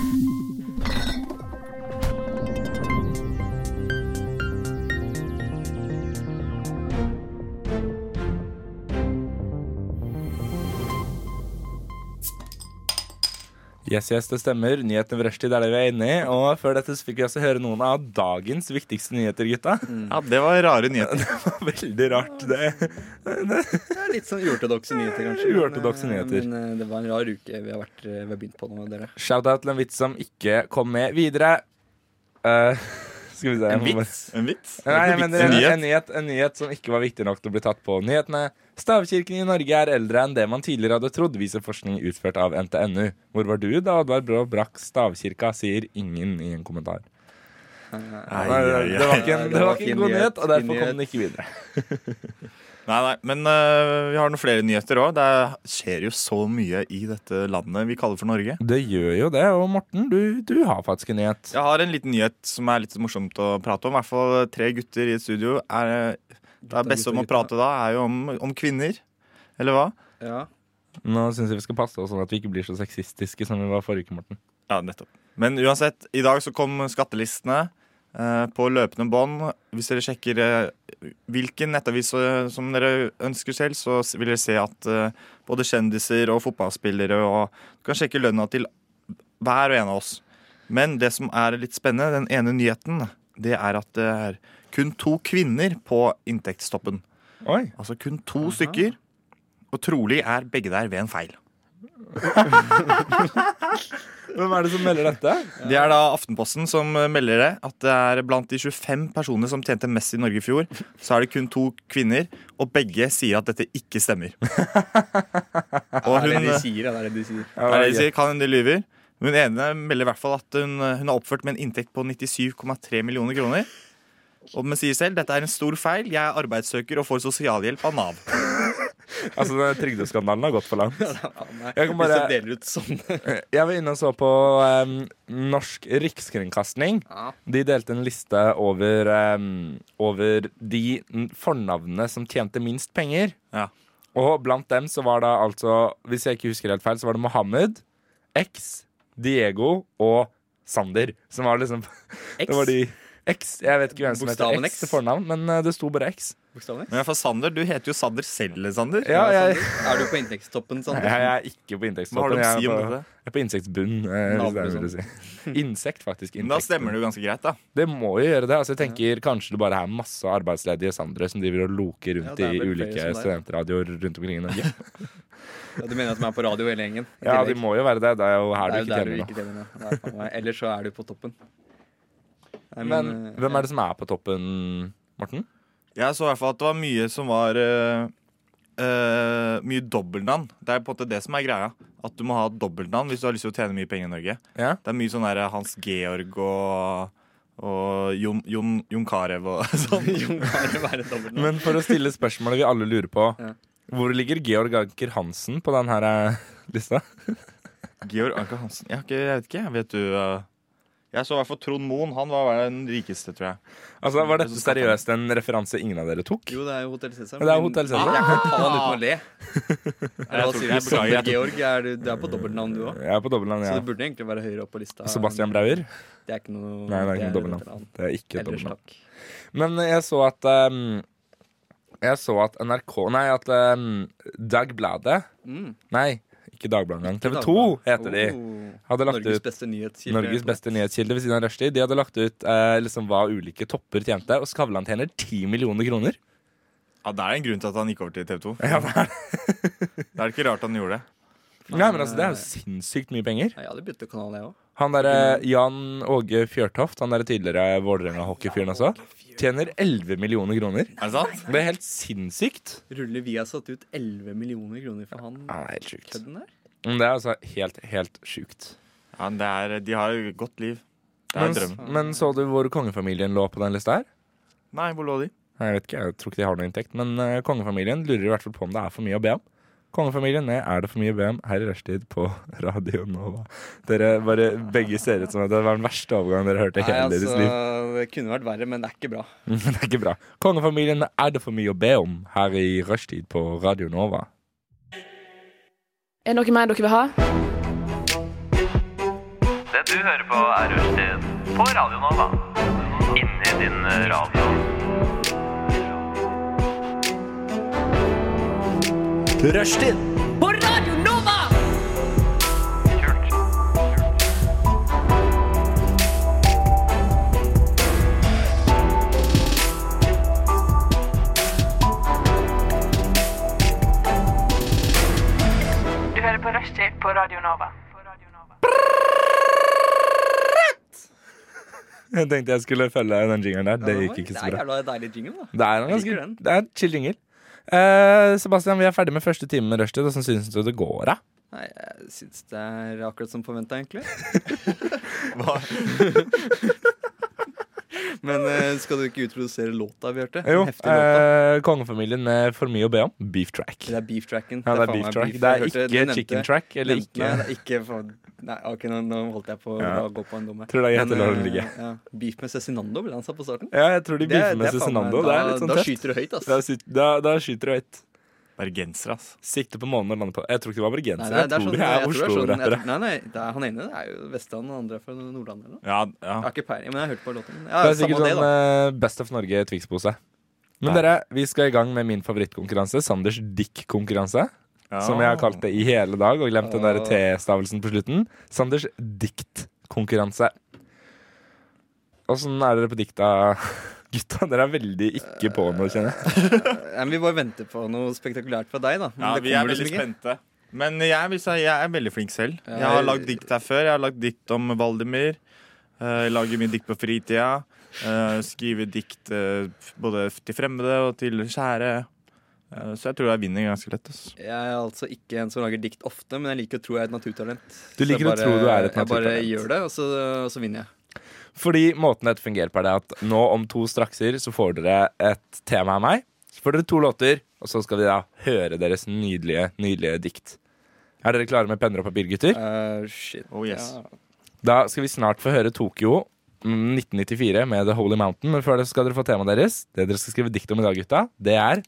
Yes, yes, det stemmer. Nyhetene ved rushtid er det vi er inne i. Og før dette så fikk vi også høre noen av dagens viktigste nyheter, gutta. Ja, Det var rare nyheter. Veldig rart, det. Det er litt sånn uortodokse nyheter, kanskje. Uortodokse men, eh, nyheter. Men eh, det var en rar uke vi har, vært, eh, vi har begynt på nå, dere. Shout-out til en vits som ikke kom med videre. Eh, skal vi se jeg må bare- En vits? Nei, jeg mener en, En nyhet? en, nyhet, en nyhet som ikke var viktig nok til å bli tatt på nyhetene. Stavkirken i Norge er eldre enn det man tidligere hadde trodd, viser forskning utført av NTNU. Hvor var du da Oddvar Brå brakk stavkirka, sier ingen i en kommentar. Ai, Nei, ai, det ai. var ikke en, det var ikke en god nyhet, og derfor kom den ikke videre. Nei, nei, men øh, vi har noen flere nyheter òg. Det skjer jo så mye i dette landet vi kaller for Norge. Det gjør jo det, og Morten, du, du har faktisk en nyhet. Jeg har en liten nyhet som er litt morsomt å prate om. I hvert fall tre gutter i et studio. Er, det er beste om å gutta. prate da, er jo om, om kvinner. Eller hva? Ja. Nå syns jeg vi skal passe oss sånn at vi ikke blir så sexistiske som vi var forrige uke, Morten. Ja, nettopp. Men uansett, i dag så kom skattelistene eh, på løpende bånd. Hvis dere sjekker eh, hvilken nettavis eh, som dere ønsker selv, så s- vil dere se at eh, både kjendiser og fotballspillere og Du kan sjekke lønna til hver og en av oss. Men det som er litt spennende, den ene nyheten, det er at det er kun to kvinner på inntektstoppen. Oi. Altså kun to stykker. Og trolig er begge der ved en feil. Hvem er det som melder dette? Det er da Aftenposten som eh, melder det. At det er blant de 25 personene som tjente mest i Norge i fjor, så er det kun to kvinner, og begge sier at dette ikke stemmer. Og Det er det hun, de eh, sier, ja, det er det de sier. Ja, er det de sier, kan hende de lyver. Hun ene melder i hvert fall at hun, eh, hun er oppført med en inntekt på 97,3 millioner kroner. Og men sier selv dette er en stor feil. Jeg er arbeidssøker og får sosialhjelp av Nav. Altså, den Trygdeskandalen har gått for langt. Nei, Jeg kan Hvis bare- de deler ut sånne Jeg var inne og så på em, Norsk Rikskringkasting. Ja. De delte en liste over, em, over de n- fornavnene som tjente minst penger. Ja. Og blant dem så var da altså, hvis jeg ikke husker helt feil, så var det Mohammed, X, Diego og Sander. Som var liksom Det var de X. Jeg vet ikke hvem som heter Bokstaven X til X? fornavn, men eh, det sto bare X. bokstavene. Men i hvert fall Sander, du heter jo Sander selv, Sander. Ja, jeg, Sander. Er du på inntektstoppen, jeg, Sander? jeg er ikke på Hva har inntektstoppen. du å Jeg si om er på, dette? jeg er på insektsbunn. eh, hvis det er Navnet, mulig å si. Insekt, faktisk. Men Da Insektsbunn. stemmer det jo ganske greit, da. Det må jo gjøre det. altså jeg tenker Kanskje det bare er masse arbeidsledige sandere som driver og loker Ja, rundt det er i vel flere ulike som det er. studentradioer rundt omkring i Norge. Ja, du mener at de er på radio hele gjengen? i Ja, de tillegg. må jo være det. Det er jo her Det du er jo ikke der du tjener noe. ikke tjener noe. Nei, faen meg. Ellers så er du på toppen. Nei, Men eh, hvem er det som er på toppen, Morten? Jeg så i hvert fall at det var mye som var eh, eh, Mye dobbeltnavn. Det er på en måte det som er greia. At du må ha dobbeltnavn hvis du har lyst til å tjene mye penger i Norge. Ja. Det er mye sånn der Hans Georg og, og Jon, Jon, Jon Carew og sånn. Jon Carew er et dobbeltnavn. Men for å stille spørsmålet vi alle lurer på, Ja. hvor ligger Georg Anker Hansen på den her eh, lista? Georg Anker Hansen. Jeg, har ikke, jeg vet ikke. Vet du eh, Jeg så i hvert fall Trond Moen. Han var den rikeste, tror jeg. Altså, Var dette seriøst en referanse ingen av dere tok? sånn Jo, det er jo Hotell Cæsar. Ah, Men Det er Hotell Cæsar. Jeg kan ta den uten å le. Hva tok- sier jeg du? Sander beklager, jeg tok- Georg, er du, du er på dobbeltnavn du òg. Jeg er på dobbeltnavn, Så det ja. burde egentlig være høyere opp på lista. Sebastian Brauer? Det er ikke noe Nei, det er ikke noe et dobbeltnavn. annet. Det er ikke et Ellers dobbeltnavn. takk. Men jeg så at ehm, Jeg så at NRK Nei, at ehm, Dagbladet Mm. Nei, ikke Dagbladet engang. TV 2 Dagbladet. heter de. Oh. Hadde lagt Norges ut beste nyhetskilde. Norges beste nyhetskilde ved siden av Rushdie. De hadde lagt ut eh, liksom hva ulike topper tjente, og Skavlan tjener 10 millioner kroner. Ja, Det er en grunn til at han gikk over til TV 2. Ja, det er, Det er ikke rart han gjorde det. Nei, men altså, det er jo sinnssykt mye penger. Ja, jeg hadde byttet kanal, jeg òg. Han derre Jan Åge Fjørtoft, han derre tidligere Vålerenga-hockeyfyren også, tjener 11 millioner kroner. Er det sant? Det er helt sinnssykt. Rulle Vi har satt ut 11 millioner kroner for han Ja, det er helt sjukt. kødden der. Men det er altså helt, helt sjukt. Ja, det er, De har jo et godt liv. Det er Men, drømmen. men så du hvor kongefamilien lå på den lista her? Nei, hvor lå de? Nei, Jeg vet ikke, jeg tror ikke de har noe inntekt, men eh, kongefamilien lurer i hvert fall på om det er for mye å be om. Kongefamilien, nei, er det for mye å be om her i rushtid på Radio Nova? Dere bare begge ser ut som at det var den verste overgangen dere hørte i hele deres liv. altså, det kunne vært verre, men det er ikke bra. Men det er ikke bra. Kongefamilien, er det for mye å be om her i rushtid på Radio Nova? Er det noe mer dere vil ha? Det du hører på er Rushtid på Radio Nova. Inni din eh, radio. På Radio Nova! Kult. Du hører på Rushtid på Radio Nova. Jeg tenkte jeg skulle følge den jingeren der. Det gikk ikke Det så er bra. jævla deilig jingle, da. Det er en Jeg liker ganske den. det er en chill jingle. Eh, Sebastian, vi er ferdig med første time med rushtid. Hvordan syns du det går? da? Nei, jeg syns det er akkurat som forventa, egentlig. Men eh, skal du ikke utprodusere låta, Bjarte? Jo, Den heftige låta. eh, kongefamilien med for mye å be om. Beef track. Det er beef tracken. Ja, det er faen beef meg track. beef. Det Jeg er hørte du ikke nevnte- chicken track. Eller nevnte- Nei, ikke det er ikke for... Nei, ok, nå, nå holdt jeg på Ja. å gå på en dumme. Tror det er greit å Men, la det eh, ligge. Ja. Beef med Cezinando ble han sa på starten. Ja, jeg tror de Det er- beefer med det er faen meg- Cezinando. Det er da- litt sånn Da tøft. skyter du høyt, ass. Da, syt- da, da skyter du høyt. Bergensere, ass. Sikte på månen og lande på Jeg tror ikke det var Nei, det bergensere. er, Jeg det er sånn, jeg tror det tror det er er sånn jeg Oslo-rappere. tror- Nei, nei, det er, han ene er jo Vestland, og han andre er fra Nordland eller noe. Ja, ja. Jeg har ikke peiling, men jeg har hørt på låten. men Det Ja, er sikkert samme det, sånn da. eh, Best of Norge Twix-pose. Men Nei. dere, vi skal i gang med min favorittkonkurranse, Sanders dick-konkurranse. ja. Som jeg har kalt det i hele dag, og glemt den der Ah. T-stavelsen på slutten. Sanders diktkonkurranse. Åssen er dere på dikta, gutta? Dere er veldig ikke på nå, kjenner jeg. Nei, men vi bare venter på noe spektakulært fra deg, da. Men Ja, det vi kommer er veldig liksom ikke. spente. Men jeg, vil si, jeg er veldig flink selv. Jeg har lagd dikt her før. Jeg har lagd dikt om Valdemir. Eh, Jeg lager mye dikt på fritida. Eh, Skriver dikt eh, både til fremmede og til kjære. Eh, Så jeg tror jeg vinner ganske lett. ass. Jeg er altså ikke en som lager dikt ofte, men jeg liker å tro jeg er et naturtalent. Du Så liker jeg å tro du er et Jeg bare naturtalent. gjør det, og så, og så vinner jeg. Fordi måten dette fungerer på, er det at nå om to strakser så får dere et tema av meg. Så får dere to låter, og så skal vi da høre deres nydelige, nydelige dikt. Er dere klare med penner og papir, gutter? Eh, shit. Oh, yes. Ja. Da skal vi snart få høre Tokyo mm, 1994 med The Holy Mountain. Men før det skal dere få temaet deres. Det dere skal skrive dikt om i dag, gutta, det er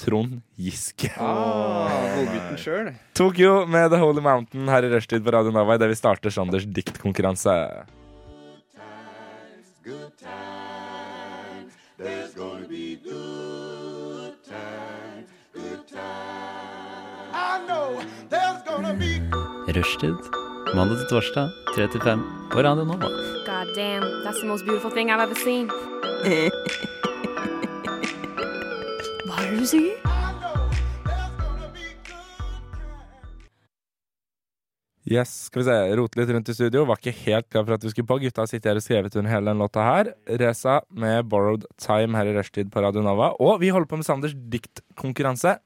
Trond Giske. Ah, Godgutten sjøl. Tokyo med The Holy Mountain her i rushtid på Radio Nova idet vi starter Sanders diktkonkurranse. Rushtid. Mandag til torsdag, 3 til 5 på Radio Nova. God damn, that's the most beautiful thing I've ever seen. Hva er det du sier? Yes, skal vi se. Rote litt rundt i studio. Var ikke helt klar for at vi skulle på. Gutta sitter her og skrevet under hele den låta her. Reza med Borrowed Time her i rushtid på Radio Nova. Og vi holder på med Sanders diktkonkurranse.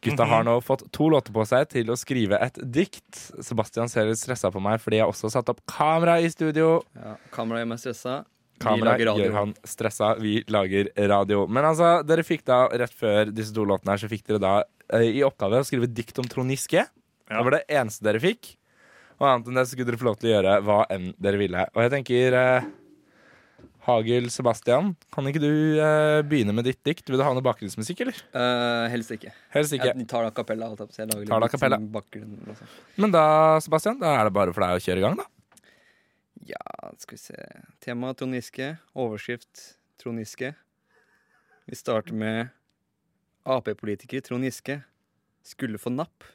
Gutta har nå fått to låter på seg til å skrive et dikt. Sebastian ser litt stressa på meg fordi jeg også har satt opp kamera i studio. Ja, Kameraet gjør meg stressa. Kamera vi lager radio. gjør han stressa. Vi lager radio. Men altså, dere fikk da rett før disse to låtene her, så fikk dere da eh, i oppgave å skrive dikt om Trond Giske. Det var det eneste dere fikk. Og annet enn det så skulle dere få lov til å gjøre hva enn dere ville. Og jeg tenker eh, Hagel Sebastian, kan ikke du eh, begynne med ditt dikt? Vil du ha noe bakgrunnsmusikk, eller? Eh, helst ikke. Helst ikke. Jeg tar det a cappella. alt opp, så jeg lager Tar det a litt cappella. sånn bakgrunn og sånn. Men da, Sebastian, da er det bare for deg å kjøre i gang, da. Ja, skal vi se Tema Trond Giske. Overskrift Trond Giske. Vi starter med Ap-politiker Trond Giske skulle få napp.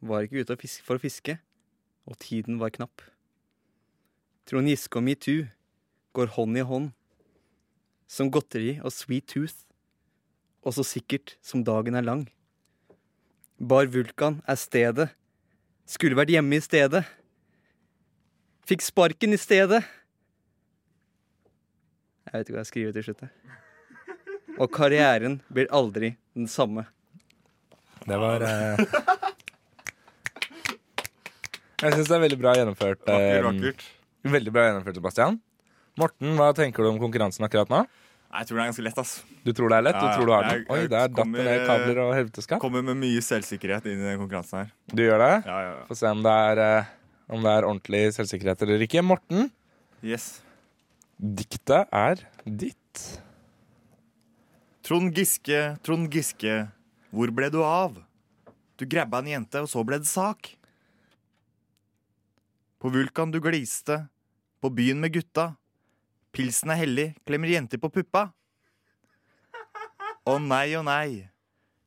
Var ikke ute å fiske for å fiske, og tiden var knapp. Trond Giske og metoo går hånd i hånd. Som godteri og sweet tooth. Og så sikkert som dagen er lang. Bar Vulkan er stedet. Skulle vært hjemme i stedet. Fikk sparken i stedet. Jeg vet ikke hva jeg skriver til slutt. jeg. Og karrieren blir aldri den samme. Det var eh, Jeg syns det er veldig bra gjennomført. eh, Vakkert, vakkert. Veldig bra gjennomført, Sebastian. Morten, hva tenker du om konkurransen akkurat nå? Nei, jeg tror det er ganske lett, ass. Du tror det er lett? Ja, du tror du har jeg- den? Oi, jeg der datt kommer- det ned kabler og helveteskap. Kommer med mye selvsikkerhet inn i den konkurransen her. Du gjør det? Ja, ja, ja. Få se om det er, eh, om det er ordentlig selvsikkerhet eller ikke. Morten, Yes. diktet er ditt. Trond Giske, Trond Giske, hvor ble du av? Du grabba en jente, og så ble det sak. På Vulkan du gliste, på byen med gutta. Pilsen er hellig, klemmer jenter på puppa. Å nei, å nei,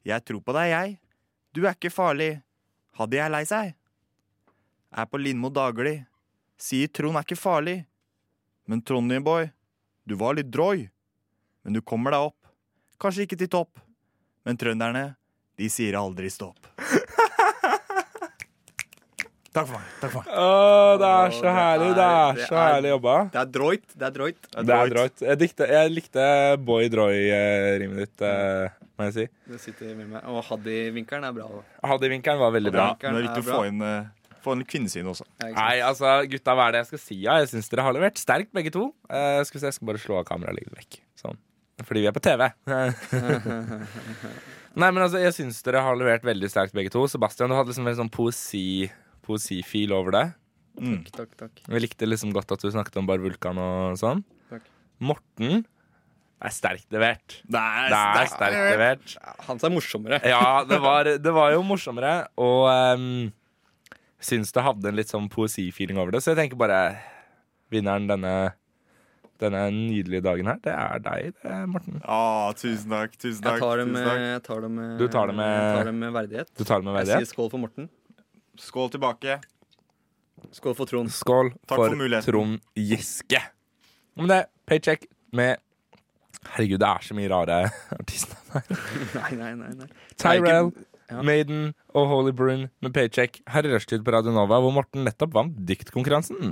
jeg tror på deg, jeg. Du er ikke farlig. Hadde jeg lei seg? Er på Lindmo daglig. Sier Trond er ikke farlig. Men Trondheim-boy, du var litt drøy. Men du kommer deg opp. Kanskje ikke til topp, men trønderne, de sier aldri stopp. Takk for meg. takk for meg. Å, det er så herlig! Det er så herlig jobba. Det er drøyt. Det er drøyt. Det er drøyt. Jeg, dikte, jeg likte Boy Droy-rimet ditt, eh, må jeg si. Det sitter med meg. Og Haddy-vinkelen er bra. da. Haddy-vinkelen var veldig bra. Bra. Nå er det viktig å få inn, eh, få inn litt kvinnesyn også. Ja, ikke sant? Nei, altså, gutta, hva er det jeg skal si? Ja, jeg syns dere har levert sterkt, begge to. Eh, skal vi se, Jeg skal bare slå av kameraet litt vekk. Sånn. Fordi vi er på TV. Nei, men altså, jeg syns dere har levert veldig sterkt, begge to. Sebastian, du hadde liksom en sånn poesi poesifil over det. Takk, takk. Vi likte liksom godt at du snakket om bare vulkan og sånn. Takk. Morten er sterkt levert. Det er, Det er sterkt levert. Hans er morsommere. Ja, det var, det var jo morsommere. Og um, syns det hadde en litt sånn poesifeeling over det. Så jeg tenker bare Vinneren denne, denne nydelige dagen her, det er deg, det, Morten. Å, tusen takk. Tusen takk. Jeg tar eh, det tusen med, takk. jeg tar det med, Du tar det med- jeg tar det med verdighet. Du tar det med Jeg sier verdighet. skål for Morten. Skål tilbake. Skål for Trond. Skål Takk for, for muligheten. Trond Giske. Men det, paycheck med Herregud, det er så mye rare artister. Nei, nei, nei. nei. Tyrell, Ja. Maiden og Holy Brun med paycheck her i rushtid på Radio Nova, hvor Morten nettopp vant diktkonkurransen.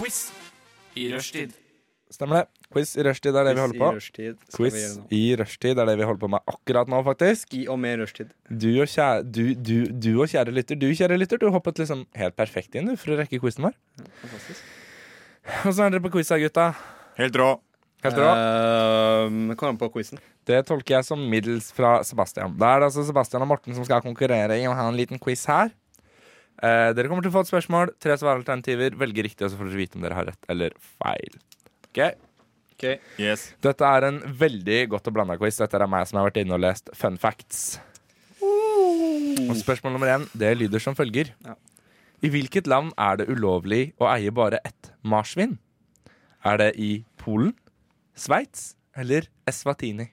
Quiz i rushtid. Stemmer det. Quiz i rushtid er det vi holder på. I rushtid skal vi Quiz gjøre noe. i rushtid er det vi holder på med akkurat nå, faktisk. I og med rushtid. Du og kjære, du, du, du og kjære lytter, du kjære lytter, du hoppet liksom helt perfekt inn du, for å rekke quizen vår. Fantastisk. Og så er dere på quiz her, gutta. Helt rå. Helt bra. Eh. Uh, kom an på quizen. Det tolker jeg som middels fra Sebastian. Da er det altså Sebastian og Morten som skal konkurrere i å ha en liten quiz her. Eh, dere kommer til å få et spørsmål, tre svaralternativer. Velge riktig, og så får dere vite om dere har rett eller feil. Ok? Yes. Dette er en veldig godt og blanda quiz. Dette er meg som har vært inne og lest fun facts. Og spørsmål nummer én det lyder som følger. Ja. I hvilket land er det ulovlig å eie bare ett marsvin? Er det i Polen, Sveits eller Eswatini?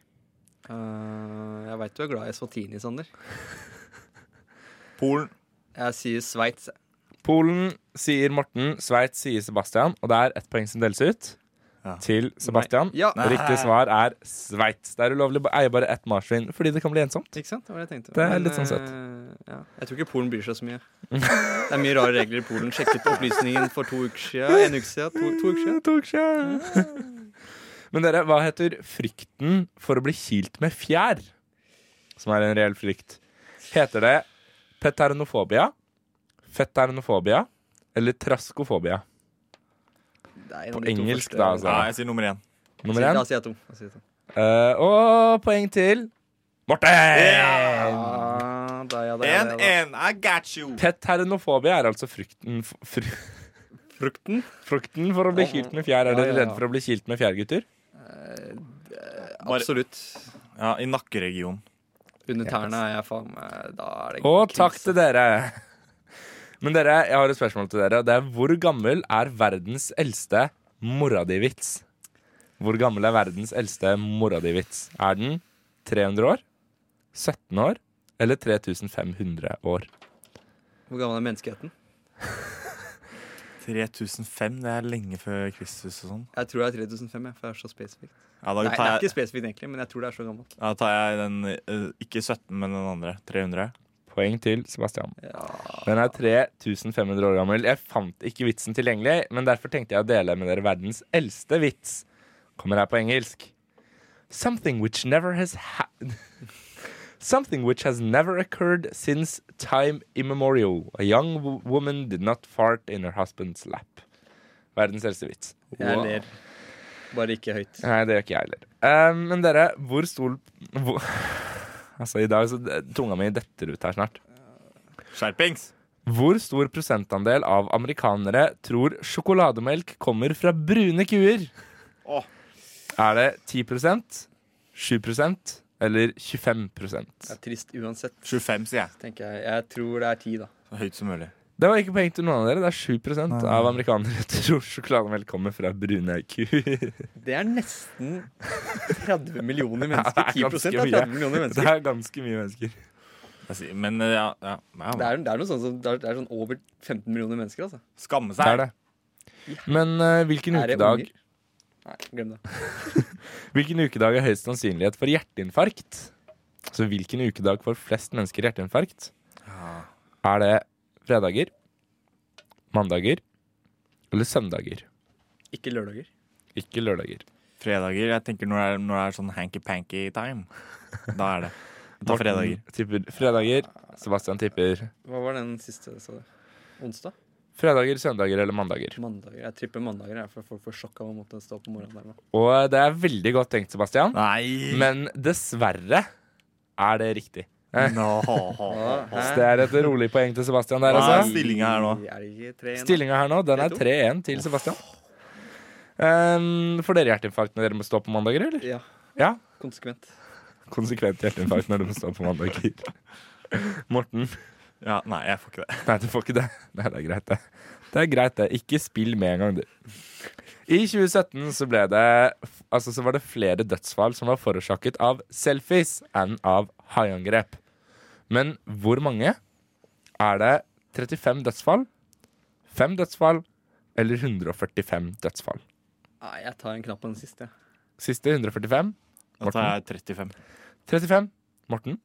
Eh, jeg veit du er glad i Swatini, Sander. Polen. Jeg sier Sveits. Polen sier Morten, Sveits sier Sebastian, og det er ett poeng som deles ut. til Sebastian. Ja. Og Riktig svar er Sveits. Det er ulovlig å eie bare ett marsvin fordi det kan bli ensomt. Ikke sant? Det var det jeg tenkte. Det er litt sånn søtt. eh, Ja. Jeg tror ikke Polen bryr seg så mye. Det er mye rare regler i Polen. Sjekket opplysningen for to uker siden. En uke siden. To, to uker siden. Ah. Men dere, hva heter frykten for å bli kilt med fjær? Som er en reell frykt. Heter det peternofobia, feternofobia eller traskofobia? Nei, På de to engelsk, første- da, altså. Nei, jeg sier nummer én. Nummer Da én. sier jeg to. Da sier jeg to. Eh, og poeng til Morten! Ah, da, ja, da, ja, En, da, ja, da. en, I got you! Peternofobia er altså frykten f- fr Frukten? Frukten for å bli kilt med fjær. Er Ja, dere ja, ja. redde for å bli kilt med fjær, gutter? Bare- Absolutt. Ja, I nakkeregionen. Under tærne er jeg faen meg Da er det altså. Og takk til dere. Men dere, jeg har et spørsmål til dere. og Det er hvor gammel er verdens eldste mora di-vits? Hvor gammel er verdens eldste mora di-vits? Er den 300 år, 17 år eller 3500 år? Hvor gammel er menneskeheten? 3005, det er lenge før Kristus og sånn. Jeg tror det er 3005, jeg, for det er så spesifikt. Ja, da Nei, det tar er jeg, ikke spesifikt egentlig, men jeg tror det er så gammelt. ja, da tar jeg den eh, ikke 17, men den andre. 300. Poeng til Sebastian. Ja. Den er 3500 år gammel. Jeg fant ikke vitsen tilgjengelig, men derfor tenkte jeg å dele med dere verdens eldste vits. Kommer her på engelsk. Something which never has ha Something which has never occurred since time immemorial. A young wo- woman did not fart in her husband's lap. Verdens eldste vits. Jeg ler. Bare ikke høyt. Nei, det gjør ikke jeg heller. Eh, men dere, hvor stol... Hvor altså, i dag så tunga mi detter ut her snart. Skjerpings! Hvor stor prosentandel av amerikanere tror sjokolademelk kommer fra brune kuer? Åh. Er det 10 7 eller 25 Det er trist uansett, 25, sier jeg. tenker jeg. Jeg tror det er ti, da. Så høyt som mulig. Det var ikke poeng til noen av dere. Det er 7 av amerikanere tror sjokolademelk kommer fra brune kuer. Det er nesten 30 millioner mennesker. Ja, det er 10 ganske er 30 millioner Det mennesker. er ganske mye mennesker. jeg sier, men eh, ja, ja, ja, Det er, det er noe sånn som det er, det er sånn over 15 millioner mennesker, altså. Skamme Det er seg. det. Men eh, hvilken, Er det ukedag, unger? Nei, glem det. hvilken ukedag er høyest sannsynlighet for hjerteinfarkt? Så hvilken ukedag får flest mennesker hjerteinfarkt? Ja. Er det fredager, mandager eller søndager? Ikke lørdager. Ikke lørdager. Fredager. Jeg tenker når det er, når det er sånn hanky-panky-time. Da er det. Da Morten fredager. Tipper fredager. Sebastian tipper Hva var den siste, sa du? Onsdag? fredager, søndager eller mandager. Mandager. Jeg tripper mandager, jeg, for folk får sjokk av å måtte stå opp om morgenen. Der, nå. Og det er veldig godt tenkt, Sebastian, Nei! men dessverre er det riktig. Nå, ha, ha, ha. Så det er et rolig poeng til Sebastian der, Hva er altså. stillinga her nå? Er det ikke tre igjen, da? Stillinga her nå, den er 3-2. 3-1 til Sebastian. Um, får dere hjerteinfarkt når dere må stå på mandager, eller? Ja. Ja. Konsekvent. Konsekvent hjerteinfarkt når du må stå på mandager. Morten. Ja, nei, jeg får ikke det. Nei, du får ikke det. Nei, det er greit, det. Det er greit, det. Ikke spill med en gang, du. I 2017 så ble det Altså så var det flere dødsfall som var forårsaket av selfies enn av haiangrep. Men hvor mange? Er det 35 dødsfall, 5 dødsfall eller 145 dødsfall? Nei, jeg tar en knapp på den siste. jeg. Siste 145. Da tar jeg 35. 35. Morten,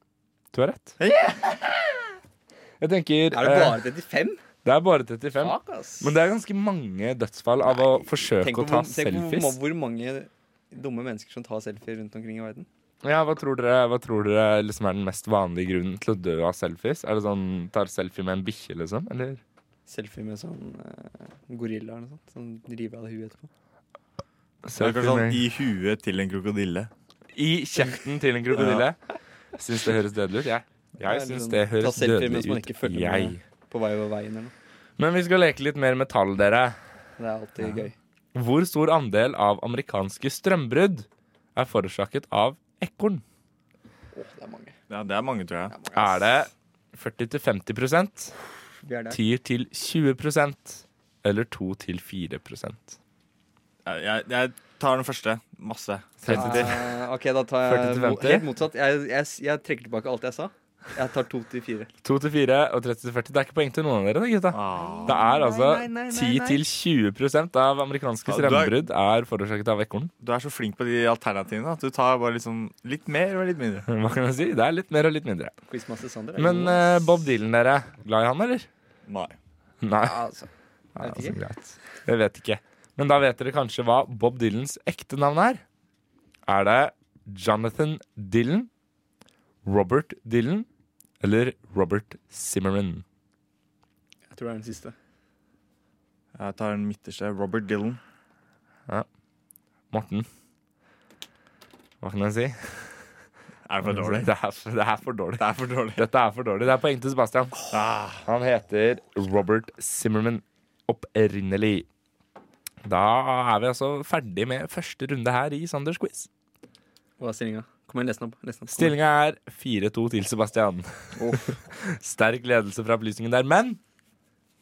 du har rett. Jeg tenker Er det eh, bare 35? det er bare 35. Fuck, ass. Men det er ganske mange dødsfall av å forsøke Tenk å på ta hvor- tenk på selfies. hvor- hvor mange dumme mennesker som tar selfier rundt omkring i verden. Ja, hva tror dere, hva tror dere liksom er den mest vanlige grunnen til å dø av selfies? Er det sånn tar selfie med en bikkje, liksom? Eller? Selfie med sånn eh, gorilla eller noe sånt. Som river av deg huet etterpå. Det er Selfie kanskje sånn med, i huet til en krokodille. I kjeften til en krokodille? Syns det høres dødelig ut, jeg. Ja, Jeg eller syns sånn, det ta høres selfie mens man dødelig ikke ut, følger med. jeg. På vei over veien eller noe. Men vi skal leke litt mer med tall, dere. Det er alltid gøy. Hvor stor andel av amerikanske strømbrudd er forårsaket av ekorn? Åh, det er mange. Ja, det er mange, tror jeg. Er det 40-50 Vi er der. 10 til 20 eller 2 til 4 Jeg, jeg, jeg tar den første. Masse. Tretti til. Eh, ok, da tar 40 jeg til mot, 50. helt motsatt. Jeg, jeg, jeg trekker tilbake alt jeg sa. Jeg tar to til fire. 2 til 4 og 30 til 40. Det er ikke poeng til noen av dere, det, gutta. Ah. Det er altså 10-20 av amerikanske Ja, du er- strømbrudd er forårsaket av ekorn. Du er så flink på de alternativene at du tar bare liksom litt mer og litt mindre. Hva kan jeg si? Det er litt mer og litt mindre. Quizmaster Sander. er Men god, eh, ass. Bob Dylan, dere. Glad i han, eller? Nei. Nei. Ja, altså, Ja, vet altså, ikke. greit. Jeg vet ikke. Men da vet dere kanskje hva Bob Dylans ekte navn er. Er det Jonathan Dylan, Robert Dylan eller Robert Zimmerman? Jeg tror det er den siste. Jeg tar den midterste. Robert Dylan. Morten. Hva kan jeg si? Er det for dårlig? Det er, det er for dårlig. Det er for dårlig. Dette er for dårlig. Det er poeng til Sebastian. Ah, Han heter Robert Zimmerman opprinnelig. Da er vi altså ferdig med første runde her i Sanders quiz. Hva er stillinga? Kom igjen, les den opp. Les den opp. Kom igjen. Stillinga er 4-2 til Sebastian. Sterk ledelse fra opplysningen der. Men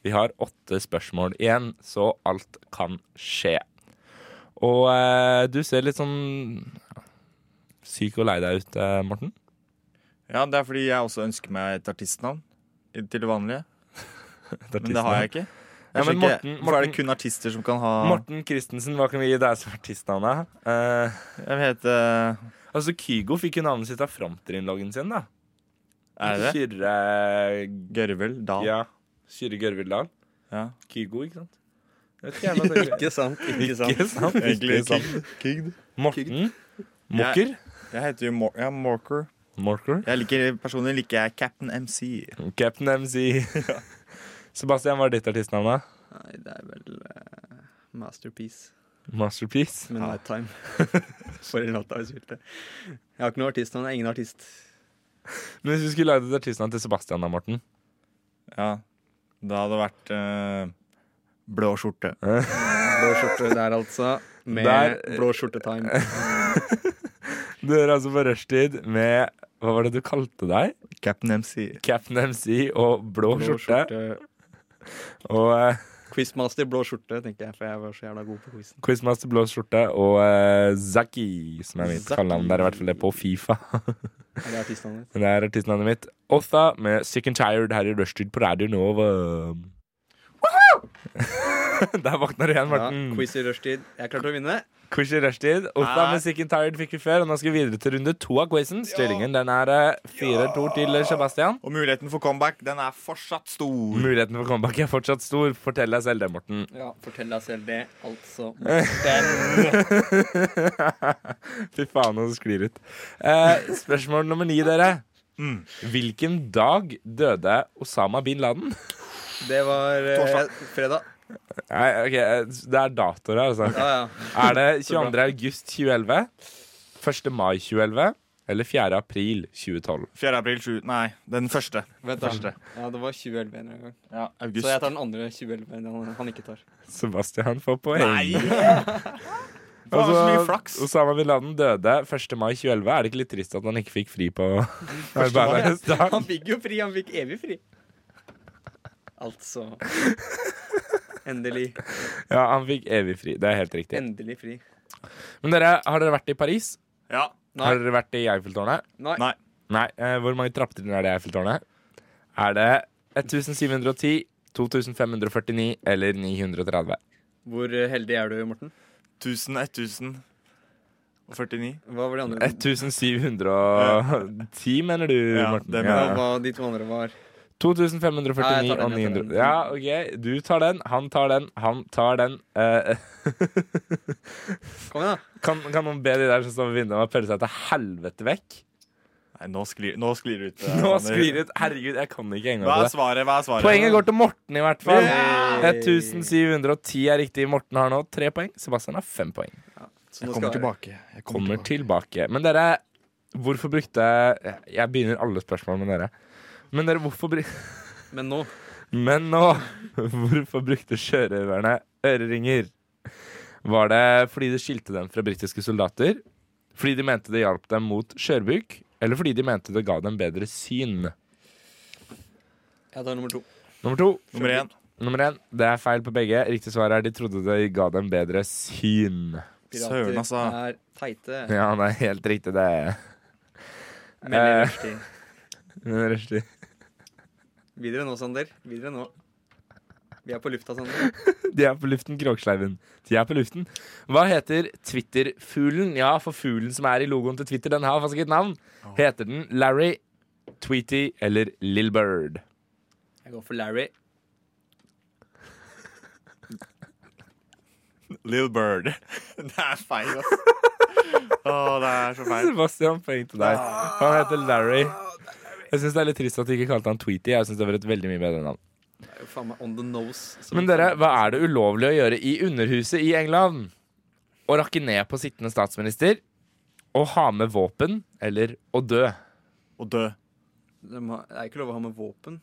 vi har åtte spørsmål igjen, så alt kan skje. Og eh, du ser litt sånn syk og lei deg ut, eh, Morten. ja, det er fordi jeg også ønsker meg et artistnavn i- til det vanlige. Men det har jeg ikke. Ja, Jeg men skjønner ikke- Morten- Hvorfor er det Morten- kun artister som kan ha Morten Christensen, hva kan vi gi deg som artistnavn? da? Eh, Jeg vil hete eh, altså Kygo fikk jo navnet sitt av fronterinnloggen sin, da. Er det det? Kyrre Gørvel Dahl. Ja. Kyrre Gørvildal. Ja. Kygo, ikke sant? Jeg vet ikke, jeg, nå tenker jeg. Ikke sant. Ikke sant. Ikke sant? Egentlig Ikke sant. Kygd. Morten Mokker. Jeg heter jo Mor ja, Morker. Morker. Jeg liker, personlig liker jeg Captain MC. Captain MC. Sebastian, hva er ditt artistnavn? da? Nei, det er vel eh, Masterpiece Masterpiece. med Night Time. For en låt jeg har spilt det. Jeg har ikke noe artistnavn. Jeg er ingen artist. Men hvis vi skulle lagd et artistnavn til Sebastian, da, Morten? Ja. Det hadde vært eh, blå skjorte. Blå skjorte der, altså. Med Der- blå skjorte-time. Du hører altså på Rushtid med Hva var det du kalte deg? Captain MC. Captain MC og blå, Blå skjorte. Og eh, Quizmaster blå skjorte, tenker jeg, for jeg var så jævla god på quizen. Quizmaster blå skjorte og eh, Zaki, som er mitt Zaki. kallenavn. Det er i hvert fall det på Fifa. Er det artistnavnet ditt? Men det er artistnavnet mitt. Otha med Sick and Tired her i Rushtid på Radio Nova. Der våkna du igjen, Ja, Morten. quiz i rushtid. Jeg klarte å vinne. Quiz i rushtid. Otta med Sick and Tired fikk vi før, og nå skal vi videre til runde to av quizen. Stillingen den er eh, 4-2 til Sebastian. Og muligheten for comeback, den er fortsatt stor. Muligheten for comeback er fortsatt stor. Fortell deg selv det, Morten. Ja, fortell deg selv det, altså. Fy faen, nå sklir det ut. Eh, spørsmål nummer ni, dere. Hvilken dag døde Osama bin Laden? Det var eh, Torsdag. fredag. Nei, ok, eh, Det er datoer her, altså. Ja, ja. Er det 22. august 2011? 1. mai 2011? Eller 4. april 2012? 4. april 7. Nei, den første. Vent, da. Ja, det var 2011 en gang. Ja, august. Så jeg tar den andre 2011 den han, han ikke tar. Sebastian får poeng. Nei! Det var så mye Altså, flaks. Osama bin Laden døde 1. mai 2011. Er det ikke litt trist at han ikke fikk fri på arbeidernes dag? Han fikk jo fri. Han fikk evig fri. Altså Endelig. Ja, han fikk evig fri. Det er helt riktig. Endelig fri. Men dere, har dere vært i Paris? Ja. Nei. Har dere vært i Eiffeltårnet? Nei. Nei. Nei. Eh, hvor mange trappetrinn er det i Eiffeltårnet? Er det 1710, 2549 eller 930? Hvor eh, heldig er du, Morten? 1000, 1000 og 49. Hva var de andre? 1710, mener du, Ja, Morten? det Hva mener hva de to andre var? 2549 Nei, jeg tar og den, jeg tar 900. den. Ja, OK. Du tar den, han tar den, han tar den. Eh, Kom igjen, da. kan, kan noen be de der som står ved vinduet om å pelle seg til helvete vekk? Nei, nå sklir, nå sklir det ut. eh, Nå Sander. sklir det ut. Herregud, jeg kan ikke engang Hva på er det. svaret? Hva er svaret? Poenget går til Morten, i hvert fall. Yeah! 1710 er riktig. Morten har nå tre poeng. Sebastian har fem poeng. Så nå skal jeg- tilbake. Jeg Kommer tilbake. Men dere, hvorfor brukte Jeg begynner alle spørsmål med dere. Men dere, hvorfor brukte Men nå Men nå, hvorfor brukte sjørøverne øreringer? Var det fordi det skilte dem fra britiske soldater? Fordi de mente det hjalp dem mot skjørbuk? Eller fordi de mente det ga dem bedre syn? Jeg tar nummer to. Nummer to. Nummer én. Nummer én. Det er feil på begge. Riktig svar er de trodde det ga dem bedre syn. Søren, altså. er teite. Ja, det er helt riktig, det. Men i rushtid. Rushdie. Videre nå, Sander. Videre nå. Vi er på lufta, Sander. De er på luften, Kråkesleiven. De er på luften. Hva heter Twitter-fuglen? Ja, for fuglen som er i logoen til Twitter, den har faktisk et navn. Heter den Larry, Tweety eller Lil Bird? Jeg går for Larry. Little Bird. Det er feil, ass. Å, det er så feil. Sebastian, poeng til deg. Han heter Larry. Jeg syns det er litt trist at de ikke kalte han Tweety. Jeg synes det var et veldig mye bedre navn. Det er jo faen meg on the nose. som- Men dere, hva er det ulovlig å gjøre i Underhuset i England? Å rakke ned på sittende statsminister, å ha med våpen eller å dø? Å dø. De har- Det er ikke lov å ha med våpen.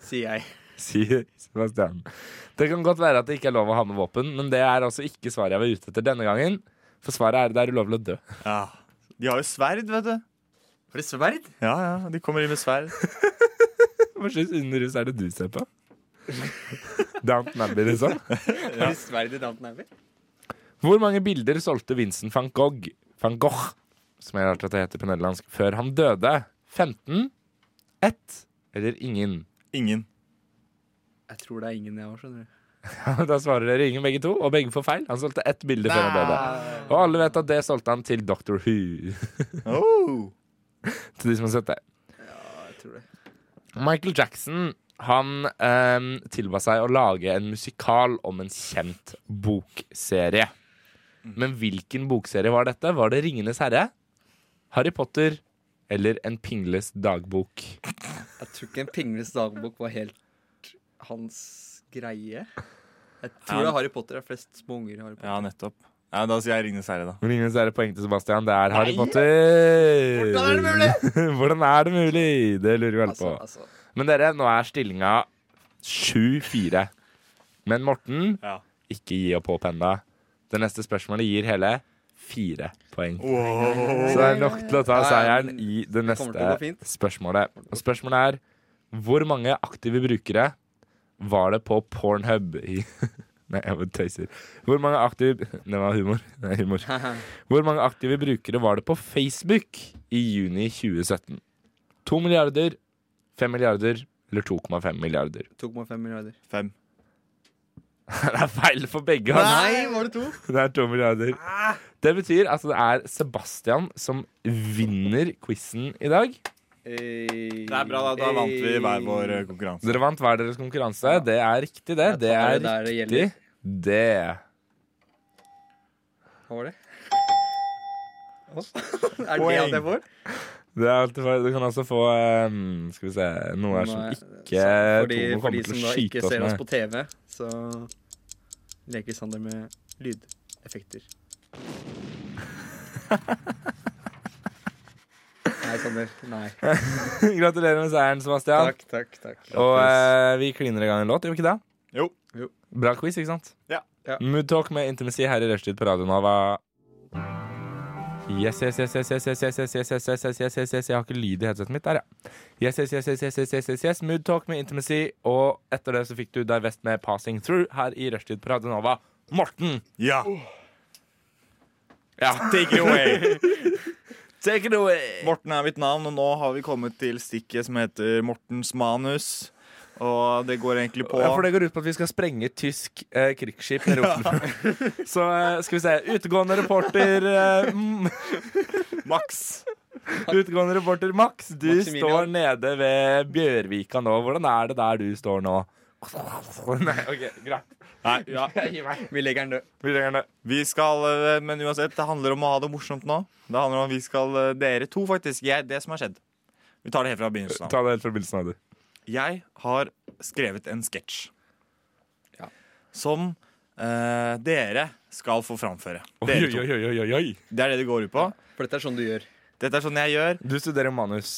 Sier jeg. Sier Sebastian. Det kan godt være at det ikke er lov å ha med våpen, men det er altså ikke svaret jeg var ute etter denne gangen. For svaret er det er ulovlig å dø. Ja. De har jo sverd, vet du. Var det sverd? Ja, ja, De kommer inn med sverd. Hva slags underhus er det du ser på? Downton Abbey, liksom? Var det sverd i Downton Abbey? Hvor mange bilder solgte Vincent van Gogh, van Gogh som jeg lærte at det heter på nederlandsk, før han døde? 15? 1? Eller ingen? Ingen. Jeg tror det er ingen jeg har, skjønner du. Da svarer dere ingen begge to, og begge får feil. Han solgte ett bilde før han døde. Og alle vet at det solgte han til Dr. Who. Oh. Til de som har sett det. Jeg tror det. Michael Jackson han eh, tilba seg å lage en musikal om en kjent bokserie. Mm. Men hvilken bokserie var dette? Var det 'Ringenes herre', 'Harry Potter' eller 'En pingles dagbok'? Jeg tror ikke en pingles dagbok var helt hans greie. Jeg tror det er Harry Potter. Det er flest små unger i Harry Potter. Ja, nettopp. Ja, Da sier jeg Ringenes herre, da. Ringenes herre poeng til Sebastian. Det er Harry Potter! Hvordan er det mulig? Hvordan er det mulig? Det lurer vi alle på. Altså, altså. Men dere, nå er stillinga 7-4. Men Morten, Ja. ikke gi opp håp ennå. Det neste spørsmålet gir hele fire poeng. Så det er nok til å Ja, ta ja, seieren men i kommer det til å gå neste fint. spørsmålet. Og spørsmålet er hvor mange aktive brukere var det på Pornhub i Nei, jeg bare tøyser. Hvor mange aktive Det var humor. Det er humor. Hvor mange aktive brukere var det på Facebook i juni 2017? 2 milliarder, 5 milliarder eller 2,5 milliarder? 2,5 milliarder. Fem. Det er feil for begge. altså. var det to? Det er 2 milliarder. Ah. Det betyr at det er Sebastian som vinner quizen i dag. Eh, Det er bra, da. Da vant vi hver vår eh, konkurranse. Dere vant hver deres konkurranse. Det er riktig, det. Jeg Det tar er det der det riktig, det. Hva var det? Er det det at jeg får? Det er alltid feil. Du kan altså få eh, Skal vi se Noe her som Nei, ikke så for de, Tomo for de kommer som til å da ikke skyte oss ser oss med. på TV, så leker Sander med lydeffekter. Nei, Sander. Nei. Gratulerer med seieren, Sebastian. Takk, takk, takk. Og eh, vi kliner i gang en låt, gjør vi ikke det? Jo. Jo. Bra quiz, ikke sant? Ja. Ja. Moodtalk med Intimacy her i Rushtid på Radio Nova. Yes, yes, yes, yes, yes, yes, yes, yes, yes, yes, yes, yes, yes, yes, yes, jeg har ikke lyd i headsetet mitt der, ja. Yes, yes, yes, yes, yes, yes, yes, yes, yes, Moodtalk med Intimacy, og etter det så fikk du deg vest med Passing Through her i Rushtid på Radio Nova. Morten! Ja. Ja, Take it away. take it away! Morten er mitt navn, og nå har vi kommet til stikket som heter Mortens manus. Og det går egentlig på Ja, for det går ut på at vi skal sprenge et tysk eh, krigsskip nede i Oslofjorden. Så eh, skal vi se. Utegående reporter eh, mm, Max. Utgående reporter Max, du Maximilian. står nede ved Bjørvika nå. Hvordan er det der du står nå? Nei, OK, greit. Nei, ja. Gi meg. Vi legger den død. Vi trenger det. Vi skal, eh, Men uansett, det handler om å ha det morsomt nå. Det handler om at vi skal, eh, Dere to, faktisk. Jeg, det som har skjedd. Vi tar det helt fra begynnelsen av. Eh, Ta det helt fra begynnelsen av, du. Jeg har skrevet en sketsj. Ja. Som eh, dere skal få framføre. Oi, Dere oi, to. oi, oi, oi. Det er det det går ut på. For dette er sånn du gjør. Dette er sånn jeg gjør. Du studerer manus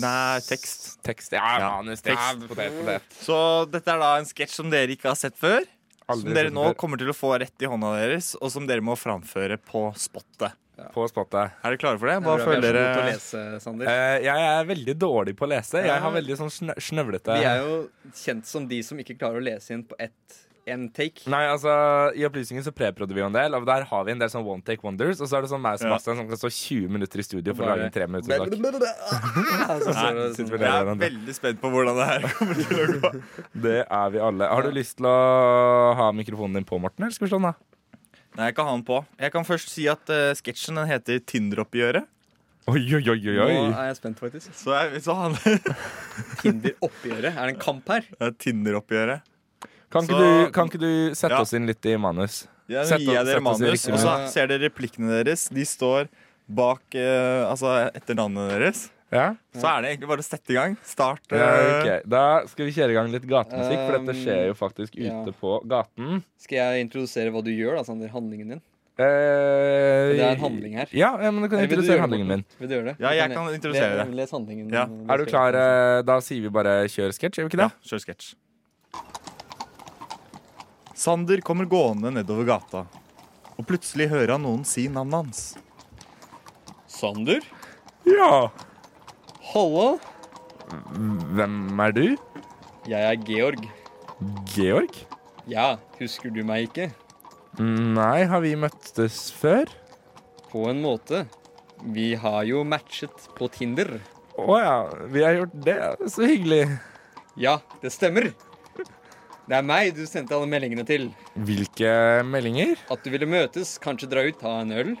Nei, tekst. Tekst, Ja, Ja. manus, tekst. Potet, potet. Så dette er da en sketsj som dere ikke har sett før. Aldri som dere sett nå før. kommer til å få rett i hånda deres, og som dere må framføre på spottet. På spottet. Er dere klare for det? Bare følg Vi er så dere gode til å lese, Sander. Eh, jeg er veldig dårlig på å lese. Jeg har veldig sånn snø- snøvlete Vi er jo kjent som de som ikke klarer å lese inn på ett en take. Nei, altså, I opplysningen så preproder vi jo en del, og der har vi en del sånn one take wonders. Og så er det sånn meg som Ja. Bastian som kan stå 20 minutter i studio for å Bare- lage en tre minutter sak. Ah, så står det sånn. sitter vi Jeg der er igjen, da. veldig spent på hvordan det her kommer til å gå. Det er vi alle. Har du lyst til å ha mikrofonen din på, Morten? Eller skal vi slå den av? Nei, jeg kan ha den på. Jeg kan først si at eh, sketsjen den heter Tinder-oppgjøret. Oi, oi, oi, oi, Nå oi. er jeg spent, faktisk. Så, jeg- så handler Tinder-oppgjøret. Er det en kamp her? det er Tinder-oppgjøret. Kan Så- ikke, du, kan ikke du sette Ja. oss inn litt i manus? Ja, Sett nå gir jeg oss- sett dere oss i manus, riktig og så manus. ser dere replikkene deres. De står bak eh, Altså etter navnet deres. Ja? Så er det egentlig bare å sette i gang. Start. ja eh, ok. Da skal vi kjøre i gang litt gatemusikk, for dette skjer jo faktisk Eh, ja. ute på gaten. Skal jeg introdusere hva du gjør, da, Sander? Handlingen din? Eh, Det er en handling her. Ja, ja men du kan Eller vil du gjøre introdusere det, handlingen min. Morten? Vil du gjøre det? Ja, Du jeg kan introdusere le- det. Les handlingen. Ja. eh, Er du klar? eh, Da sier vi bare kjør sketsj, gjør vi ikke det? Ja, kjør sketsj. Sander kommer gående nedover gata, og plutselig hører han noen si navnet hans. Sander? Ja. Hallo? Hvem er du? Jeg er Georg. Georg? Ja, husker du meg ikke? Nei, har vi møttes før? På en måte. Vi har jo matchet på Tinder. Å ja, vi har gjort det. Så hyggelig. Ja, det stemmer. Det er meg du sendte alle meldingene til. Hvilke meldinger? At du ville møtes, kanskje dra ut, ta en øl.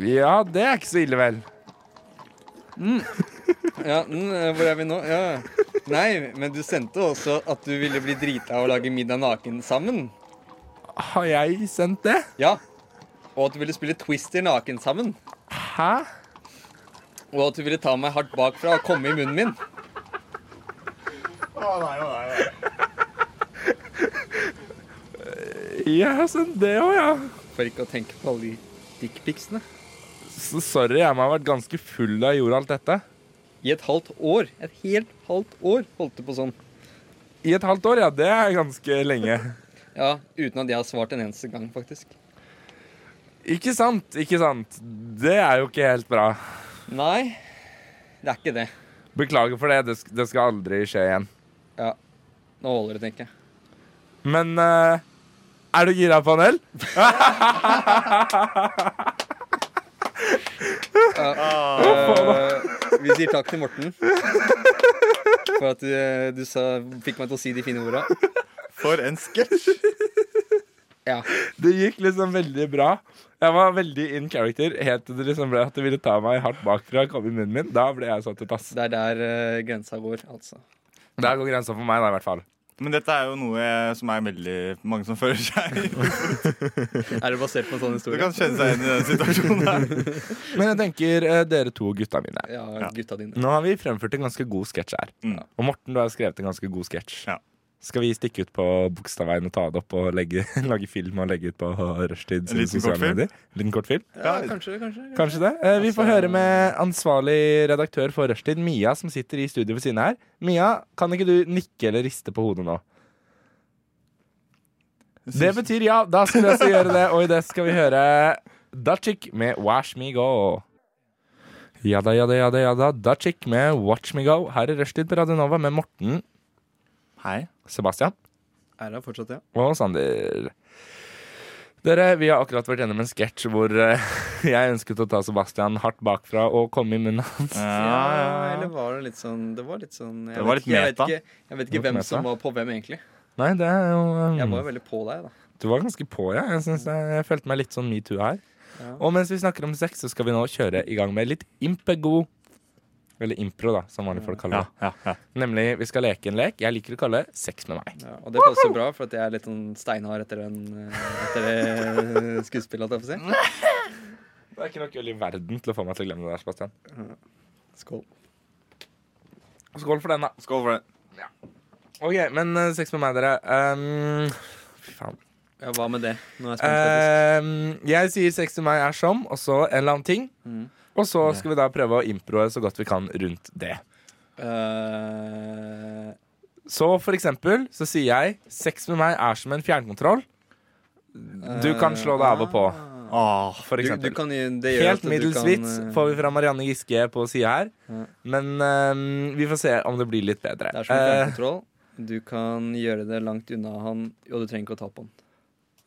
Ja, det er ikke så ille, vel. Ja, mm, eh, Hvor er vi nå? Ja. Nei, men du sendte også at du ville bli drita og lage middag naken sammen. Har jeg sendt det? Ja. Og at du ville spille Twister naken sammen. Hæ? Og at du ville ta meg hardt bakfra og komme i munnen min. Jeg har sendt det òg, ja. For ikke å tenke på alle de dickpicsene. Så sorry, jeg må ha vært ganske full da jeg gjorde alt dette. I et halvt år. Et helt halvt år holdt du på sånn. I et halvt år, ja. Det er ganske lenge. Ja, Uten at jeg har svart en eneste gang, faktisk. Ikke sant, ikke sant. Det er jo ikke helt bra. Nei, det er ikke det. Beklager for det. Det, sk det skal aldri skje igjen. Ja, Nå holder det, tenker jeg. Men eh, er du gira på en øl? Eh, vi sier takk til Morten for at eh, du sa, fikk meg til å si de fine orda. For en sketsj! Ja. Det gikk liksom veldig bra. Jeg var veldig in character helt til det liksom ble at det ville ta meg hardt bakfra og komme i munnen min. Da ble jeg satt ut, ass. Det er der eh, grensa går, altså. Der går grensa for meg, da, i hvert fall. Men dette er jo noe jeg- som er veldig mange som føler seg i. Er det basert på en sånn Du historie? kan kjenne seg igjen i den situasjonen her. Men jeg tenker eh, dere to gutta mine. Ja, gutta dine. Nå har vi fremført en ganske god sketsj her. Mm. Og Morten, du har skrevet en ganske god sketsj. Ja. Skal vi stikke ut på Bogstadveien og ta det opp og legge, lage film og legge ut på Rushtid? En liten kort film? Liten kort film? Ja, kanskje, kanskje. Kanskje det. Eh, vi får høre med ansvarlig redaktør for Rushtid, Mia, som sitter i studio ved siden av her. Mia, kan ikke du nikke eller riste på hodet nå? Det betyr ja. Da skal vi altså gjøre det, og i det skal vi høre Dachik med Wash Me Go. Ja da, ja da, ja da. ja da Dachik med Watch Me Go her i Rushtid på Radio Nova med Morten, Hei. Sebastian Er det fortsatt, ja? og Sander. Dere, vi har akkurat vært gjennom en sketsj hvor eh, jeg ønsket å ta Sebastian hardt bakfra og komme i munnen hans. Ja, eller var det litt sånn Det var litt sånn Jeg, Det vet, var litt ikke- jeg, vet, meta. ikke, jeg vet ikke Det var hvem meta. som var på hvem, egentlig. Nei, det er jo eh, Jeg var jo veldig på deg, da. Du var ganske på, ja. Jeg, synes jeg, jeg følte meg litt sånn metoo her. Ja. Og mens vi snakker om sex, så skal vi nå kjøre i gang med litt impego. Eller impro, da, som vanlige folk kaller Ja, det. ja, ja. Nemlig, vi skal leke en lek jeg liker å kalle Sex med meg. Ja, og det passer bra, for at jeg er litt sånn steinhard etter, den, eh, etter det eh, skuespillet. holdt jeg på å Det er ikke nok øl i verden til å få meg til å glemme det der, Sebastian. si. Skål. Skål for den, da. Skål for det. Ok, men eh, Sex med meg, dere. Ehm, fy faen. Ja, hva med det? Nå er jeg spent, faktisk. Ehm, jeg sier sex til meg er som, og så en eller annen ting. Mm. Og så skal vi da prøve å improe så godt vi kan rundt det. Eh, Så for eksempel så sier jeg sex med meg er som en fjernkontroll. Du kan slå deg av og på, Åh, for Eh, du, du eksempel. kan, jo- det gjør at Helt du middels kan, vits eh, får vi fra Marianne Giske på sida her. Men ehm, vi får se om det blir litt bedre. Det er som Eh, fjernkontroll. Du kan gjøre det langt unna han, og du trenger ikke å ta på han.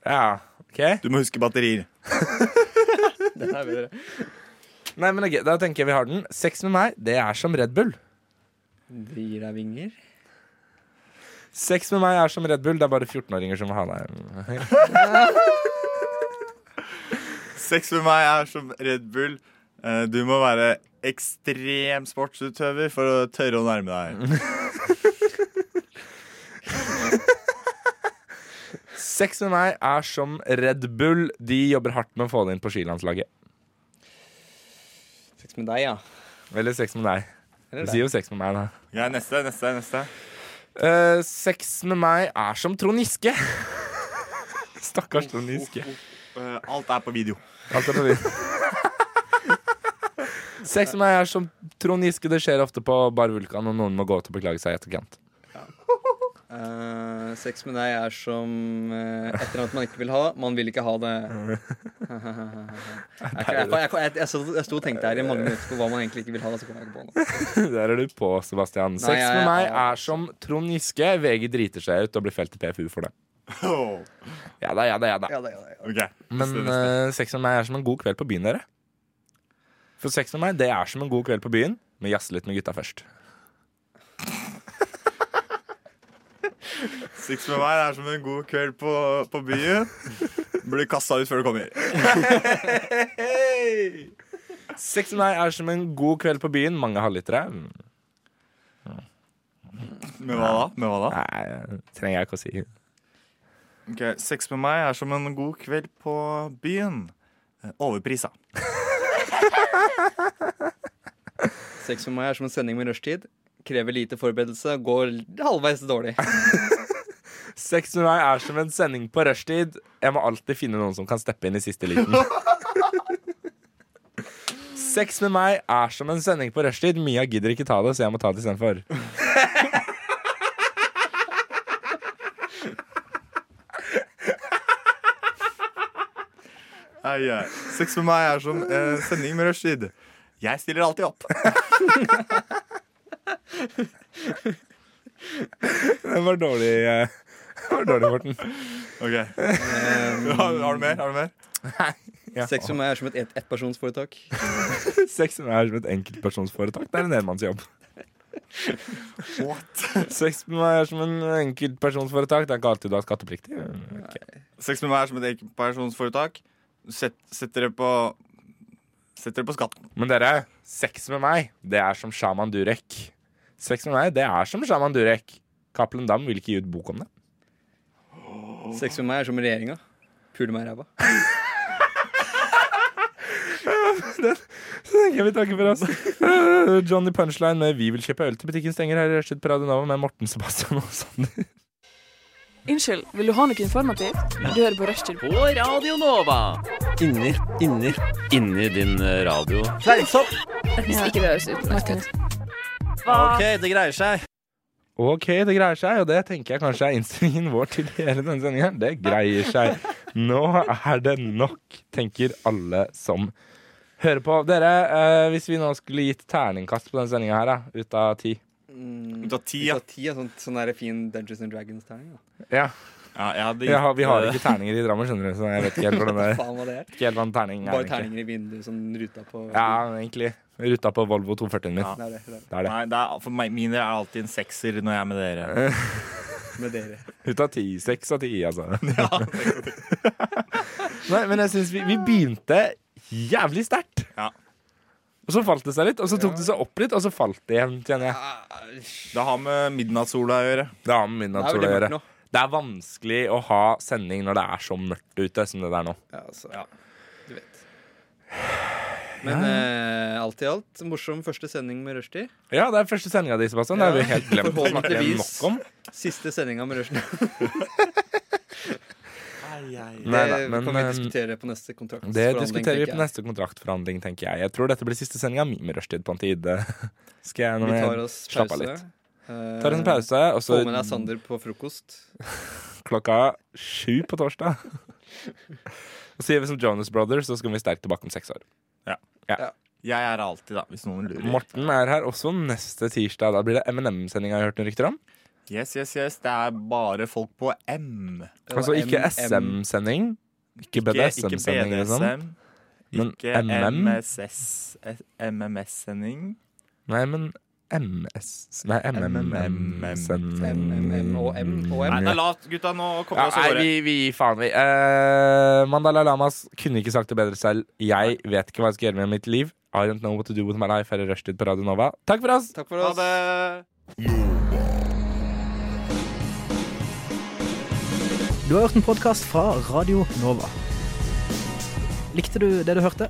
Ja, ok Du må huske batterier. Nei, men ok, Da tenker jeg vi har den. Sex med meg, det er som Red Bull. Det gir deg vinger. Sex med meg er som Red Bull, det er bare 14-åringer som vil ha deg. Sex med meg er som Red Bull. Eh, Du må være ekstrem sportsutøver for å tørre å nærme deg. Sex med meg er som Red Bull, de jobber hardt med å få det inn på skilandslaget. Sex med deg, ja. Eller sex med deg. Du Eller sier jo sex med meg, da. Ja, neste, neste, neste. Eh, sex med meg er som Trond Giske. Stakkars Trond Giske. Eh, Alt er på video. Alt er på video. Sex med meg er som Trond Giske, det skjer ofte på Bar Vulkan, og noen må gå ut og beklage seg i etterkant. Eh, sex med deg er som eh, et eller annet man ikke vil ha. Man vil ikke ha det. Jeg, jeg, jeg, jeg, jeg, sto- jeg sto og tenkte her i mange minutter på hva man egentlig ikke vil ha. og Så kom jeg ikke på noe. Der er du på, Sebastian. Sex jeg- med meg jeg- er som Trond Giske. VG driter seg ut og blir felt i PFU for det. Oh. Ja da, ja da, ja da. Ja, det, ja, det, ja. Ok, Men neste, neste. eh, sex med meg er som en god kveld på byen, dere. For sex med meg, det er som en god kveld på byen, men jazze litt med gutta først. Sex med meg er som en god kveld på, på byen. Blir kasta ut før du kommer. Sex med meg er som en god kveld på byen, mange halvlitere. Mm, Med hva da? Med hva da? Nei, trenger jeg ikke å si. Ok, Sex med meg er som en god kveld på byen. Eh, Overprisa. Sex med meg er som en sending med rushtid. Krever lite forberedelse, går halvveis dårlig. Sex med meg er som en sending på rushtid. Jeg må alltid finne noen som kan steppe inn i siste liten. Sex med meg er som en sending på rushtid. Mia gidder ikke ta det, så jeg må ta det istedenfor. Ai, ai. Sex med meg er som eh, sending med rushtid. Jeg stiller alltid opp. Den var dårlig, eh, den var dårlig Morten. Ok har, har du mer? Har du mer? Ja. Sex med meg er som et et- ettpersonsforetak. Sex med meg er som et enkeltpersonsforetak. Det er en enmannsjobb. What? Sex med meg er som en enkeltpersonsforetak. Det er ikke alltid du har skattepliktig. Ok. Sex med meg er som et enkeltpersonsforetak. Sett, setter det på Setter det på skatten. Men dere, sex med meg, det er som Shaman Durek. Sex med meg, det er som Shaman Durek. Cappelen Dam vil ikke gi ut bok om det. Sex med meg er som regjeringa. Puler meg i ræva. Så tenker jeg vi takker for oss. Johnny Punchline med 'Vi vil kjøpe øl til butikken stenger' her i Rushtid på Radio Nova med Morten, Sebastian og Sander. Unnskyld, vil du ha noe informativt? Du hører på Rushtid. På Radio Nova. Inni, inni. Inni din eh, radio. Fleinsopp! Ikke det høres utenlandsk ut. Ok, det greier seg. Ok, det greier seg, og det tenker jeg kanskje er innstillingen vår til hele denne sendingen. Det greier seg. Nå er det nok, tenker alle som hører på. Dere, eh, hvis vi nå skulle gitt terningkast på denne sendinga her, da, ut av ti Mm. Ut av ti, Ut ja. av ti er sånn, sånn der fin Dungeons and Dragons-terning. da. Ja, ja jeg hadde jeg har, vi har eh, ikke terninger i Drammen, skjønner du, så jeg vet ikke helt hvordan det er. Faen hva det er. Ikke helt hva en terning er. Bare egentlig. terninger i vinduet, sånn ruta på Ja, egentlig. Ruta på Volvo 240-en min. Ja. Det er det, det er det. Det er det. Nei, det er, for meg, mine er alltid en sekser når jeg er med dere. Med dere. Ut av ti. Seks av ti, altså. Nei, men jeg syns vi, vi begynte jævlig sterkt. Ja. Og så falt det seg litt, og så tok det seg opp litt, og så falt det igjen, kjenner jeg. Det har med midnattssola å gjøre. Det har med min Det er natur å veldig mørkt gjøre. nå. Det er vanskelig å ha sending når det er så mørkt ute som det der nå. Ja, altså, ja. Du vet. Men eh, alt i alt, morsom første sending med rushtid. Ja, det er første sendinga di, Sebastian. Det har vi helt glemt å snakke Forhåpentligvis. nok om. Siste sendinga med rushtid. Nei, da, Det men kan vi eh, diskutere på neste kontrakt. det diskuterer vi på neste kontraktforhandling, tenker jeg. Jeg tror dette blir siste sendinga mi med rushtid på en tid. Skal jeg nå Vi tar oss slappe av pause. Eh, litt? Tar en pause, og Få så med deg Sander på frokost. klokka sju på torsdag. Og så gjør vi som Jonas Brothers, så skal vi sterkt tilbake om seks år. Jeg er alltid, da, hvis noen lurer. Morten er her også neste tirsdag. Da blir det M&M-sendinga jeg har hørt noen rykter om. Yes, yes, yes. Det er bare folk på M. Altså ikke SM-sending. Ikke ikke BDSM-sending, liksom. BDSM, Men Ikke MM? MSS MMS-sending. Nei, men MS Nei, MMM-sending. M og M og M. Nei, det er lavt, gutta. Nå Ja, kommer vi oss av nei, gårde. vi, vi gir faen, vi. Eh, Mandala Lamas kunne ikke sagt det bedre selv. Jeg vet ikke hva jeg skal gjøre med mitt liv. I don't know what to do with my life. Her er Rushtid på Radio Nova. Takk for oss! Takk for oss. Du har hørt en podkast fra Radio Nova. Likte du det du hørte?